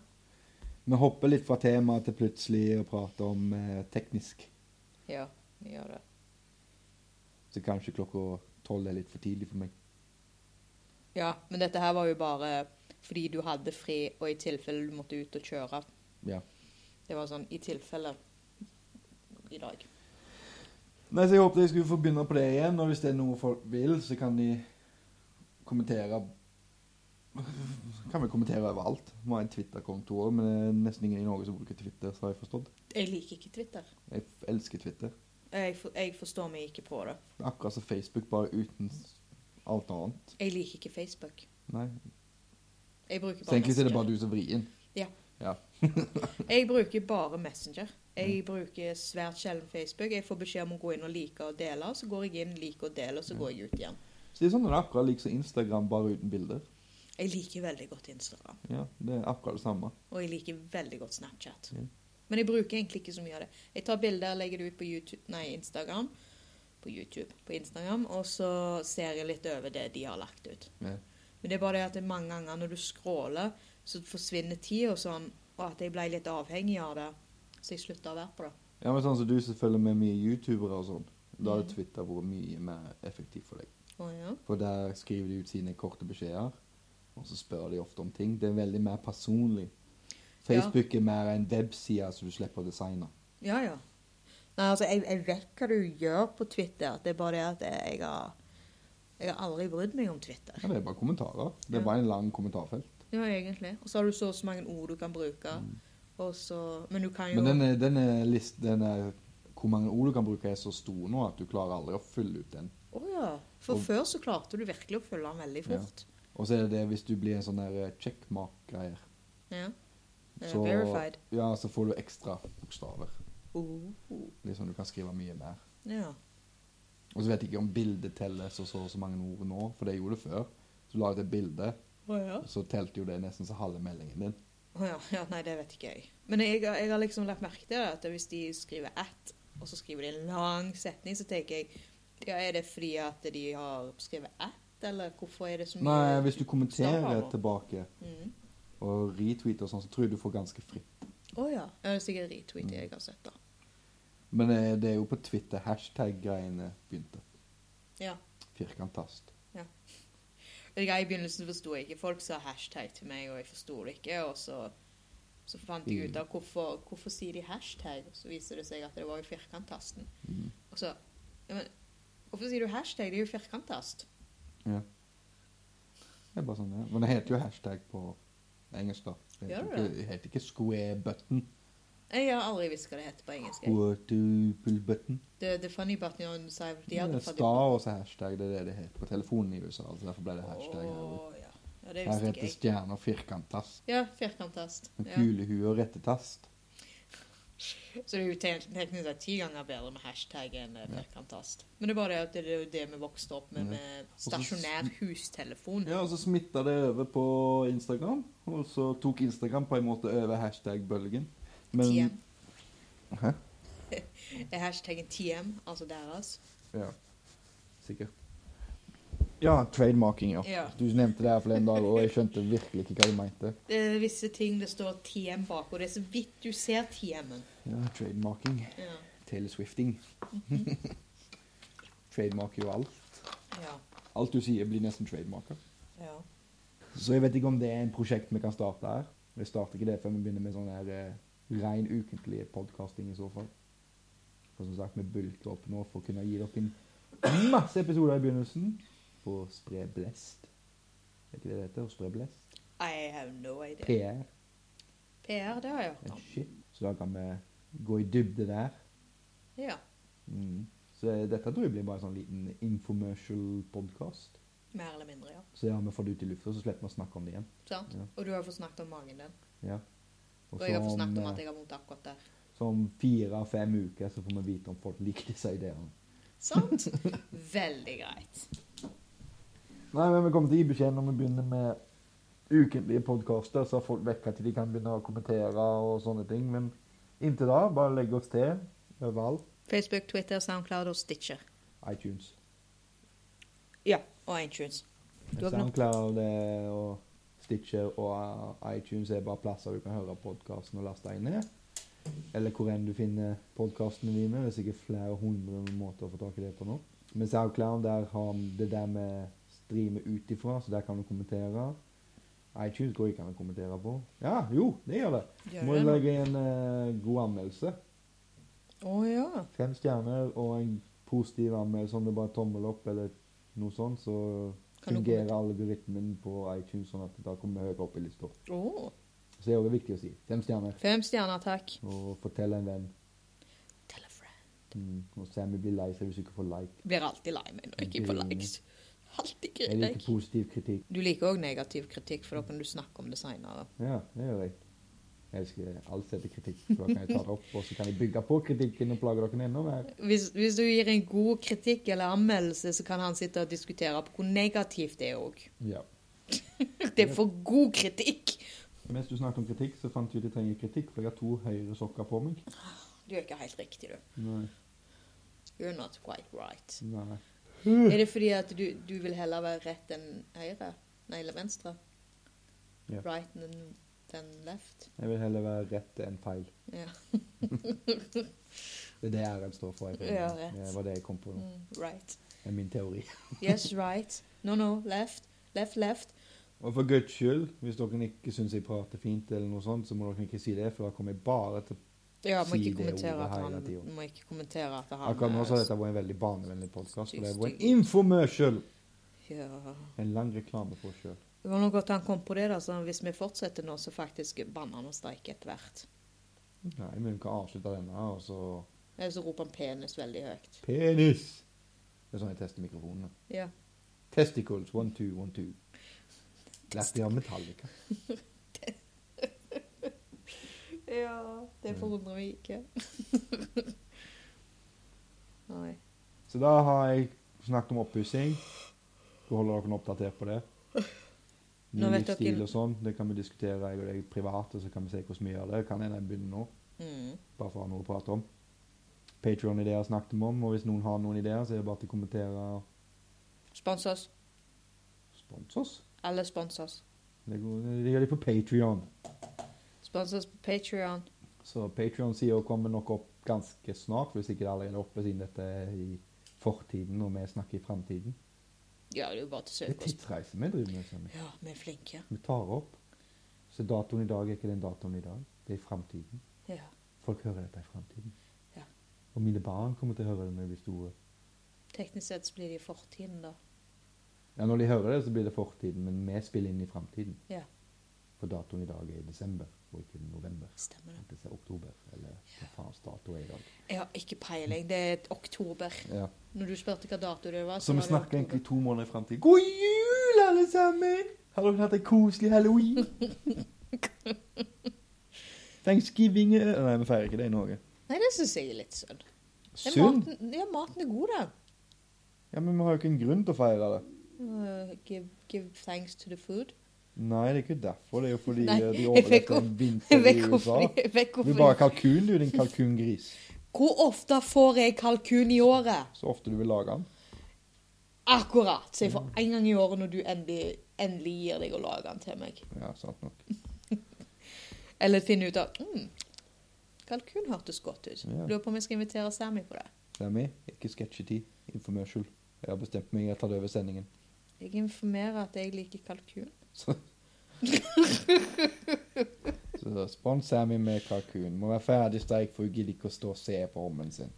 S1: Vi hopper litt fra temaet til plutselig å prate om eh, teknisk.
S2: Ja, vi gjør det.
S1: Så kanskje klokka tolv er litt for tidlig for meg.
S2: Ja, men dette her var jo bare fordi du hadde fri, og i tilfelle du måtte ut og kjøre.
S1: Ja.
S2: Det var sånn i tilfelle i dag.
S1: Nei, så Jeg håpet jeg skulle få begynne på det igjen. Og hvis det er noe folk vil, så kan de kommentere Kan vi kommentere overalt. Vi har en Twitter-konto òg, men det er nesten ingen i Norge som bruker Twitter. Så har jeg forstått.
S2: Jeg liker ikke Twitter.
S1: Jeg f- elsker Twitter.
S2: Jeg, for, jeg forstår meg ikke på det.
S1: Det er Akkurat som Facebook, bare uten s- alt annet.
S2: Jeg liker ikke Facebook.
S1: Nei.
S2: Jeg bruker
S1: Så
S2: bare
S1: egentlig så er det
S2: Messenger.
S1: bare du som vrir inn.
S2: Jeg bruker bare Messenger.
S1: Mm.
S2: Jeg bruker svært sjelden Facebook. Jeg får beskjed om å gå inn og like og dele, og så går jeg inn, liker og deler, og så
S1: Ja.
S2: går jeg ut igjen.
S1: Så det er sånn at det er akkurat like som Instagram, bare uten bilder.
S2: Jeg liker veldig godt Instagram,
S1: Ja, Det er akkurat det samme.
S2: og jeg liker veldig godt Snapchat.
S1: Ja.
S2: Men jeg bruker egentlig ikke så mye av det. Jeg tar bilder, legger det ut på YouTube, nei, Instagram, på YouTube, på Instagram, og så ser jeg litt over det de har lagt ut.
S1: Ja.
S2: Men det er bare det at det er mange ganger når du scroller, så forsvinner tid og sånn, og at jeg ble litt avhengig av det, så jeg slutta å være på det.
S1: Ja, men sånn som du som følger med mye youtubere og sånn, da hadde
S2: Mhm.
S1: Twitter vært mye mer effektivt for deg.
S2: Å ja.
S1: For der skriver de ut sine korte beskjeder, og så spør de ofte om ting. Det er veldig mer personlig. Facebook er mer en webside som du slipper å designe.
S2: Ja, ja. Nei, altså, jeg, jeg vet hva du gjør på Twitter. Det er bare det at jeg har, jeg har aldri brydd meg om Twitter.
S1: Ja, det er bare kommentarer. Det
S2: Ja.
S1: er bare en lang kommentarfelt.
S2: Ja, egentlig. Og så har du så og så mange ord du kan bruke. Og så, men du kan jo
S1: Mm. Men denne, denne list, denne, hvor mange ord du kan bruke, er så stor nå at du klarer aldri å fylle ut den.
S2: Å ja. For
S1: Og-
S2: før så klarte du virkelig å følge den veldig
S1: Ja.
S2: fort.
S1: Og så er det det hvis du blir en sånn der eh, checkmark-greier.
S2: Ja. Eh,
S1: Så-
S2: Verified.
S1: Ja, så får du ekstra bokstaver.
S2: Oh.
S1: Liksom du kan skrive mye mer.
S2: Ja.
S1: Og så vet jeg ikke om bildet teller så så, og så mange ord nå, for det gjorde det før. Så la jeg til et bilde,
S2: Å ja.
S1: så telte jo det nesten som halve meldingen din.
S2: Å ja. ja. Nei, det vet ikke jeg. Men jeg, har- jeg har liksom lagt merke til det, at hvis de skriver at, og så skriver de en lang setning, så tenker jeg ja, Er det fordi at de har skrevet at, eller hvorfor er det så mye
S1: Nei, hvis du kommenterer
S2: Stavar.
S1: tilbake
S2: Mm.
S1: og retweeter og sånn, så tror jeg du får ganske fritt.
S2: Å ja. ja. Det er sikkert retweet jeg har sett, da.
S1: Men eh, det er jo på Twitter hashtag-greiene begynte.
S2: Ja.
S1: Firkantast.
S2: Vet ikke, I begynnelsen forsto jeg ikke. Folk sa hashtag til meg, og jeg forsto det ikke. Og så, så fant jeg ut av hvorfor, hvorfor sier de hashtag, og så viser det seg at det var jo firkanttasten.
S1: Mm.
S2: Og så ja, men, Hvorfor sier du hashtag? Det er jo firkanttast.
S1: Ja. Det er bare sånn, ja. Men det heter jo hashtag på engelsk, da. Det
S2: Gjør
S1: heter,
S2: det?
S1: ikke, det heter ikke square button.
S2: Jeg har aldri visst hva det heter på engelsk. jeg.
S1: Quadruple button.
S2: The, the funny button on side of the
S1: Det
S2: other
S1: er
S2: funny
S1: star og så hashtag. Det er det det heter på telefonen i USA. Altså derfor ble det hashtag. her også.
S2: Å, ja. ja,
S1: Her
S2: det visste ikke
S1: heter
S2: jeg.
S1: stjerner firkantast.
S2: Ja, firkanttast.
S1: Men
S2: Ja.
S1: Kulehue og rettetast.
S2: Så det er jo te- teknisk sett ti ganger bedre med hashtag enn eh,
S1: Ja.
S2: firkanttast. Men det er bare det at det er jo det vi vokste opp med,
S1: Ja.
S2: med
S1: så-
S2: stasjonær hustelefon.
S1: Ja, og så smitta det over på Instagram, og så tok Instagram på en måte over hashtag-bølgen. Men
S2: TM.
S1: Hæ?
S2: Det er hashtaggen TM, altså deres.
S1: Ja. Sikkert. Ja, trademarking, ja.
S2: Ja.
S1: Du nevnte det her forleden dag, og jeg skjønte virkelig ikke hva du mente.
S2: Det er visse ting det står TM bak, og det er så vidt du ser TM-en.
S1: Ja, trademarking.
S2: Ja.
S1: Taylor Swifting. Trademarker jo alt.
S2: Ja.
S1: Alt du sier, blir nesten trademarker.
S2: ja.
S1: Så jeg vet ikke om det er en prosjekt vi kan starte her. Vi starter ikke det før vi begynner med sånn her eh, ren ukentlig podcasting i så fall. For som sagt, vi bulker opp nå for å kunne gi dere en masse episoder i begynnelsen. For å spre blest. Er ikke det det heter? Å spre blest?
S2: I have no idea.
S1: PR.
S2: PR, det har jeg hørt
S1: Et
S2: om.
S1: shit. Så da kan vi gå i dybde der.
S2: Ja.
S1: Mm. Så dette tror jeg blir bare en sånn liten infomercial podcast.
S2: Mer eller mindre, ja.
S1: Så ja, vi får det ut i lufta, så slipper vi å snakke om det igjen.
S2: Sant?
S1: Ja.
S2: Og du har fått snakket om magen din.
S1: Ja.
S2: Og jeg har fått snakket om
S1: eh,
S2: at jeg har vondt akkurat der.
S1: Så om fire-fem uker så får vi vite om folk liker disse ideene.
S2: Sant? Veldig greit.
S1: Nei, men Vi kommer til å gi beskjed når vi begynner med ukentlige podkaster, så folk vekker til de kan begynne å kommentere og sånne ting. Men inntil da, bare legg oss til overalt.
S2: Facebook, Twitter, Soundcloud og Stitcher.
S1: iTunes.
S2: Ja, og iTunes. Du har glemt-
S1: SoundCloud eh, og Stitcher og eh, iTunes er bare plasser du kan høre podkasten og laste inn i. Eller hvor enn du finner podkastene dine. Det er sikkert flere hundre måter å få tak i det på nå. Men SoundCloud, der har det der vi streamer ut ifra, så der kan du kommentere. iTunes går ikke an å kommentere på. Ja, jo, det gjør det.
S2: Gjør
S1: Må
S2: det
S1: du
S2: nå.
S1: legge en eh, god anmeldelse.
S2: Å ja.
S1: Fem stjerner og en positiv anmeldelse, om det bare er tommel opp eller noe sånt, så
S2: Kan du
S1: fungerer algoritmen på iTunes sånn at da kommer vi høyere opp i lista.
S2: Å,
S1: Så det er jo viktig å si. Fem stjerner.
S2: Fem stjerner, takk.
S1: Og fortell en venn.
S2: Tell a friend.
S1: Mm. Og Sammy blir lei seg hvis du ikke får like.
S2: Blir alltid lei meg når jeg ikke får
S1: Mm.
S2: likes. Alltid
S1: Jeg
S2: griner
S1: liker
S2: jeg.
S1: positiv kritikk.
S2: Du liker òg negativ kritikk, for da kan du snakke om det seinere.
S1: Ja, det gjør jeg. Jeg elsker alt som heter kritikk. For da kan jeg ta det opp, og så kan jeg bygge på kritikken og plage dere enda mer.
S2: Hvis, hvis du gir en god kritikk eller anmeldelse, så kan han sitte og diskutere på hvor negativt det er òg.
S1: Ja.
S2: Det er for god kritikk!
S1: Mens du snakket om kritikk, så fant jeg ut jeg trenger kritikk, for jeg har to høyre sokker på meg.
S2: Du gjør ikke helt riktig, du.
S1: Nei.
S2: You're not quite right.
S1: Nei.
S2: Er det fordi at du, du vil heller være rett enn høyre? Nei, eller venstre?
S1: Ja.
S2: Right than, than left?
S1: Jeg vil heller være rett enn feil.
S2: Ja.
S1: Det er det R-en står for. Jeg tror.
S2: Ja, rett.
S1: det var det jeg kom på nå.
S2: Mm, right.
S1: Det er min teori.
S2: Yes, right. No, no, left. Left, left.
S1: Og for guds skyld, hvis dere ikke syns jeg prater fint, eller noe sånt, så må dere ikke si det, for da kommer jeg bare til
S2: Ja, må
S1: Si
S2: ikke
S1: det
S2: kommentere
S1: ordet
S2: at han
S1: hele tiden.
S2: Må ikke kommentere at han
S1: Akkurat nå så har
S2: er-
S1: dette vært en veldig barnevennlig podkast, for det har vært
S2: Stygg.
S1: en infomercial!
S2: Ja.
S1: En lang reklame for oss sjøl.
S2: Det var noe godt han kom på det, da. Så hvis vi fortsetter nå, så faktisk banner han og streiker etter hvert.
S1: Nei, men vi kan avslutte denne, og så
S2: Eller så roper han penis veldig høyt.
S1: Penis! Det er sånn jeg tester mikrofonene.
S2: Ja.
S1: Testicles, one, two, one, two. Lærte jeg av Metallica.
S2: Ja,
S1: Mm.
S2: det forundrer meg ikke. Nei.
S1: Så da har jeg snakket om oppussing. Skal holde dere oppdatert på det. Ny
S2: Nå vet dere-
S1: livsstil og sånn, det kan vi diskutere jeg og deg privat, og så kan vi se hvordan vi gjør det. Kan hende jeg begynner nå,
S2: Mm.
S1: bare for å ha noe å prate om. Patreon-ideer snakket vi om, og hvis noen har noen ideer, så er det bare til å kommentere.
S2: Spons oss.
S1: Spons oss.
S2: Alle spons oss.
S1: Det går- det gjør de på Patreon.
S2: Spons oss på Patrion.
S1: Så Patreon-sida kommer nok opp ganske snart, hvis ikke det allerede er oppe siden dette er i fortiden, og vi snakker i framtiden.
S2: Ja, det er jo bare til å
S1: Det er
S2: søke oss.
S1: tidsreise vi driver med. Sammy.
S2: Ja, vi er flinke.
S1: Vi tar opp. Så datoen i dag er ikke den datoen i dag. Det er i framtiden.
S2: Ja.
S1: Folk hører dette i framtiden.
S2: Ja.
S1: Og mine barn kommer til å høre det når de blir store.
S2: Teknisk sett så blir det i fortiden, da.
S1: Ja, Når de hører det, så blir det fortiden, men vi spiller inn i framtiden.
S2: Ja,
S1: For datoen i dag er i desember, og ikke november.
S2: stemmer det.
S1: Det er oktober, eller hva faens dato er i dag.
S2: Jeg har ikke peiling. Det er et oktober.
S1: Ja.
S2: Når du spurte hva dato det var,
S1: Så vi
S2: var det
S1: snakker
S2: oktober.
S1: egentlig to måneder i framtiden. God jul, alle sammen! Har dere hatt en koselig halloween? Thanksgiving er- Nei, vi feirer ikke det i Norge.
S2: Nei, det syns jeg er litt synd. Den
S1: Synd.
S2: Maten, ja, maten er god, da.
S1: Ja, men vi har jo ikke en grunn til å feire det.
S2: Uh, give, give thanks to the food.
S1: Nei, det er ikke derfor. Det er jo fordi
S2: Nei,
S1: eh, de
S2: jeg vet
S1: overlevde
S2: hvor-
S1: en vinter i
S2: Vekk
S1: USA.
S2: hvorfor- vekk
S1: Du er bare
S2: hvorfor-
S1: kalkun, du, din kalkungris.
S2: Hvor ofte får jeg kalkun i året?
S1: Så ofte du vil lage den.
S2: Akkurat. Så jeg får én gang i året når du endelig, endelig gir deg å lage den til meg.
S1: Ja, sant nok.
S2: Eller finne ut av mm, Kalkun hørtes godt ut.
S1: Ja.
S2: Lurer på om jeg skal invitere Sammy på det.
S1: Det er meg. Ikke sketsjetid. Infomercial. Jeg har bestemt meg, jeg tar det over sendingen.
S2: Jeg informerer at jeg liker kalkun.
S1: Så, så spons Sammy med kalkun. Må være ferdig steik, for hun gidder ikke å stå og se på ovnen sin.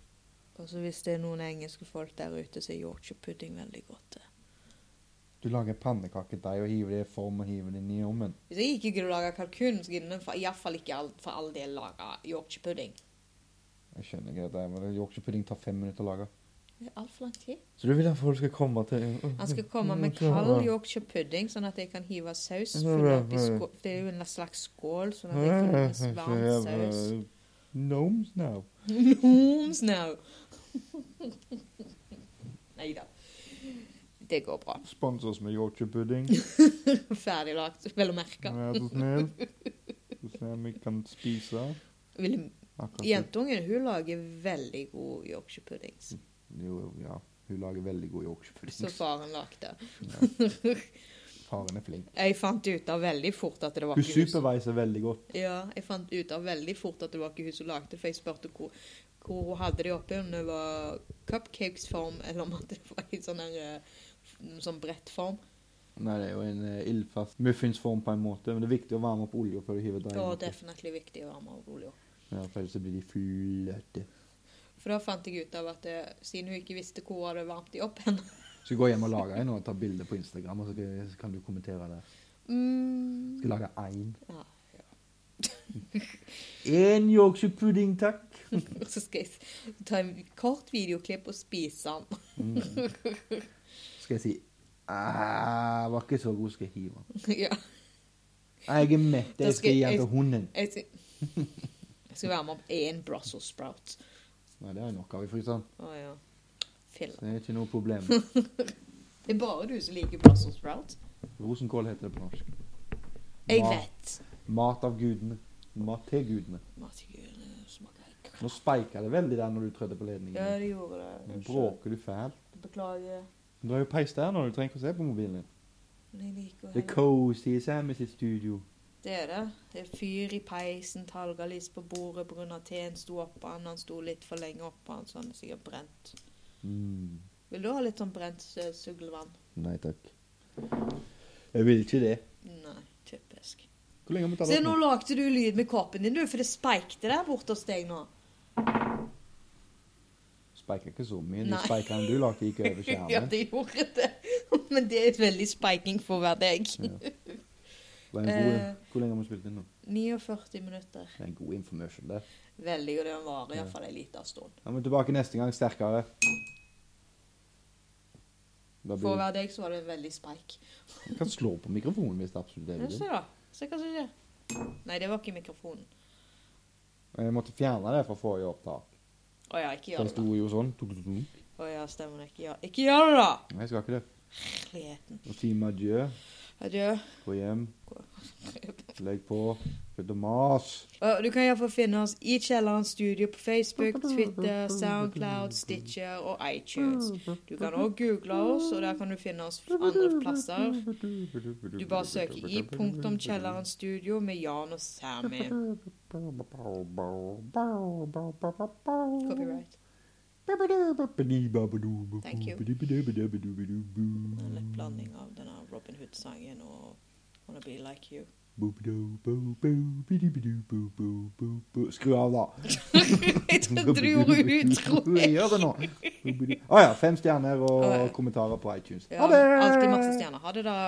S2: Og så hvis det er noen engelske folk der ute, så er Yorkshire pudding veldig godt. det.
S1: Du lager pannekakedeig og hiver det i form og hiver det inn i ovnen.
S2: Hvis jeg ikke gidder å lage kalkun, så gidder jeg iallfall ikke all, for all del lage Yorkshire pudding.
S1: Jeg skjønner ikke dette, her, men Yorkshire pudding tar fem minutter å lage.
S2: Det er altfor lang tid.
S1: Så du vil at folk skal komme til
S2: Han skal komme med kald Yorkshire pudding, sånn at jeg kan hive saus full opp i skål. Det er jo en slags skål, sånn at jeg kan hive varm saus.
S1: Gnomes now.
S2: Homes now. Nei da. Det går bra.
S1: Spons oss med Yorkshire pudding.
S2: Ferdiglagt, vel å merke.
S1: Vær så snill. Så Sammy kan spise.
S2: Vil,
S1: Akkurat.
S2: Jentungen hun lager veldig god yorkshire puddings.
S1: Jo, ja. Hun lager veldig god
S2: Så
S1: yorkshirepudding.
S2: faren lagde.
S1: Faren er flink.
S2: Jeg fant ut av veldig fort at det var
S1: Hun
S2: ikke hun som-
S1: superviser veldig godt.
S2: Ja, jeg fant ut av veldig fort at det var ikke hun som lagde det, for jeg spurte hvor, hvor hun hadde det oppe, om det var cupcakes-form, eller om at det var i sånn her, eh, sånn bredt form.
S1: Nei, det er jo en eh, ildfast muffinsform på en måte, men det er viktig å varme opp olja før du hiver deigen.
S2: Og
S1: oppi.
S2: definitivt viktig å varme opp olja.
S1: Ja, for ellers så blir de fløte.
S2: For da fant jeg ut av at eh, siden hun ikke visste hvor hun hadde varmt de opp henne
S1: Skal vi gå hjem og lage en og ta bilde på Instagram, og så kan- så kan du kommentere det.
S2: mm,
S1: Skal lage én.
S2: ja.
S1: Én Yorkshire pudding, takk.
S2: Og så skal jeg s- ta en kort videoklipp og spise den.
S1: Mm. Skal jeg si Æh, var ikke så god, skal jeg hive den.
S2: ja.
S1: Jeg er mett,
S2: Da
S1: jeg
S2: skal
S1: skal gi den
S2: jeg-
S1: til hunden.
S2: Jeg skal, jeg skal være med om én Brussels sprout.
S1: Nei, det er nok av i fryseren.
S2: Å ja. Filler.
S1: Det er ikke noe problem.
S2: Det er bare du som liker Brussels sprout.
S1: Rosenkål heter det på norsk.
S2: Jeg
S1: Mat.
S2: vet.
S1: Mat av gudene. Mat til gudene.
S2: Matgud, det eh, smaker helt kr-
S1: Nå speika det veldig der når du trødde på
S2: Ja,
S1: ledningen.
S2: det gjorde det.
S1: Nå bråker du fælt.
S2: Beklager.
S1: Du har jo peis der nå, du trenger ikke å se på mobilen din.
S2: Men jeg liker å
S1: Det er
S2: henge-
S1: cozy i Sammy sitt studio.
S2: Det er det. Det er fyr i peisen, talgalys på bordet pga. teen sto oppå han, han sto litt for lenge oppå han, så han er sikkert brent.
S1: Mm.
S2: Vil du ha litt sånn brent eh, suglevann?
S1: Nei takk. Jeg vil ikke det.
S2: Nei, typisk.
S1: Hvor lenge har vi tatt
S2: Se,
S1: opp
S2: nå
S1: nå?
S2: lagde du lyd med koppen din, du, for det speikte der borte hos deg nå.
S1: Speiker ikke så mye. De
S2: Nei.
S1: speikerne du lagde, gikk over
S2: Ja,
S1: skjermen.
S2: det gjorde det. Men det er veldig speiking for å være deg.
S1: Ja. Det er en god,
S2: Eh.
S1: Hvor lenge har vi spilt inn nå?
S2: 49 minutter.
S1: Det er en god information der.
S2: Veldig, og den varer
S1: Ja.
S2: iallfall en liten stund.
S1: Ja, men tilbake neste gang sterkere. Da
S2: For å
S1: blir
S2: være deg så var det en veldig speik.
S1: Du kan slå på mikrofonen hvis det absolutt er
S2: Ja, Se
S1: det.
S2: da. Se hva som skjer. Nei, det var ikke mikrofonen.
S1: Jeg måtte fjerne det fra forrige opptak.
S2: Å ja, ikke
S1: For
S2: gjør
S1: det
S2: det.
S1: sto
S2: da.
S1: jo sånn.
S2: Å ja, stemmer det. Ikke gjør, ikke gjør det, da!
S1: Nei, jeg skal ikke det.
S2: Herligheten.
S1: Og si adjø.
S2: Adjø.
S1: Gå hjem. Legg på. Slutt å mase.
S2: Og Du kan iallfall finne oss i Kjelleren Studio på Facebook, Twitter, Soundcloud, Stitcher og iTunes. Du kan òg google oss, og der kan du finne oss andre plasser. Du bare søker i punktum Kjelleren Studio med Jan og Sammy. Copyright. Thank you. En lett blanding av denne Robin Hood-sangen og Wanna Be Like You.
S1: Skru av, da.
S2: Jeg trodde du gjorde utro.
S1: Gjør det nå. Å ja. Fem stjerner
S2: Å, ja.
S1: og kommentarer på iTunes.
S2: Ja,
S1: Ha det!
S2: alltid masse stjerner. Ha det, da.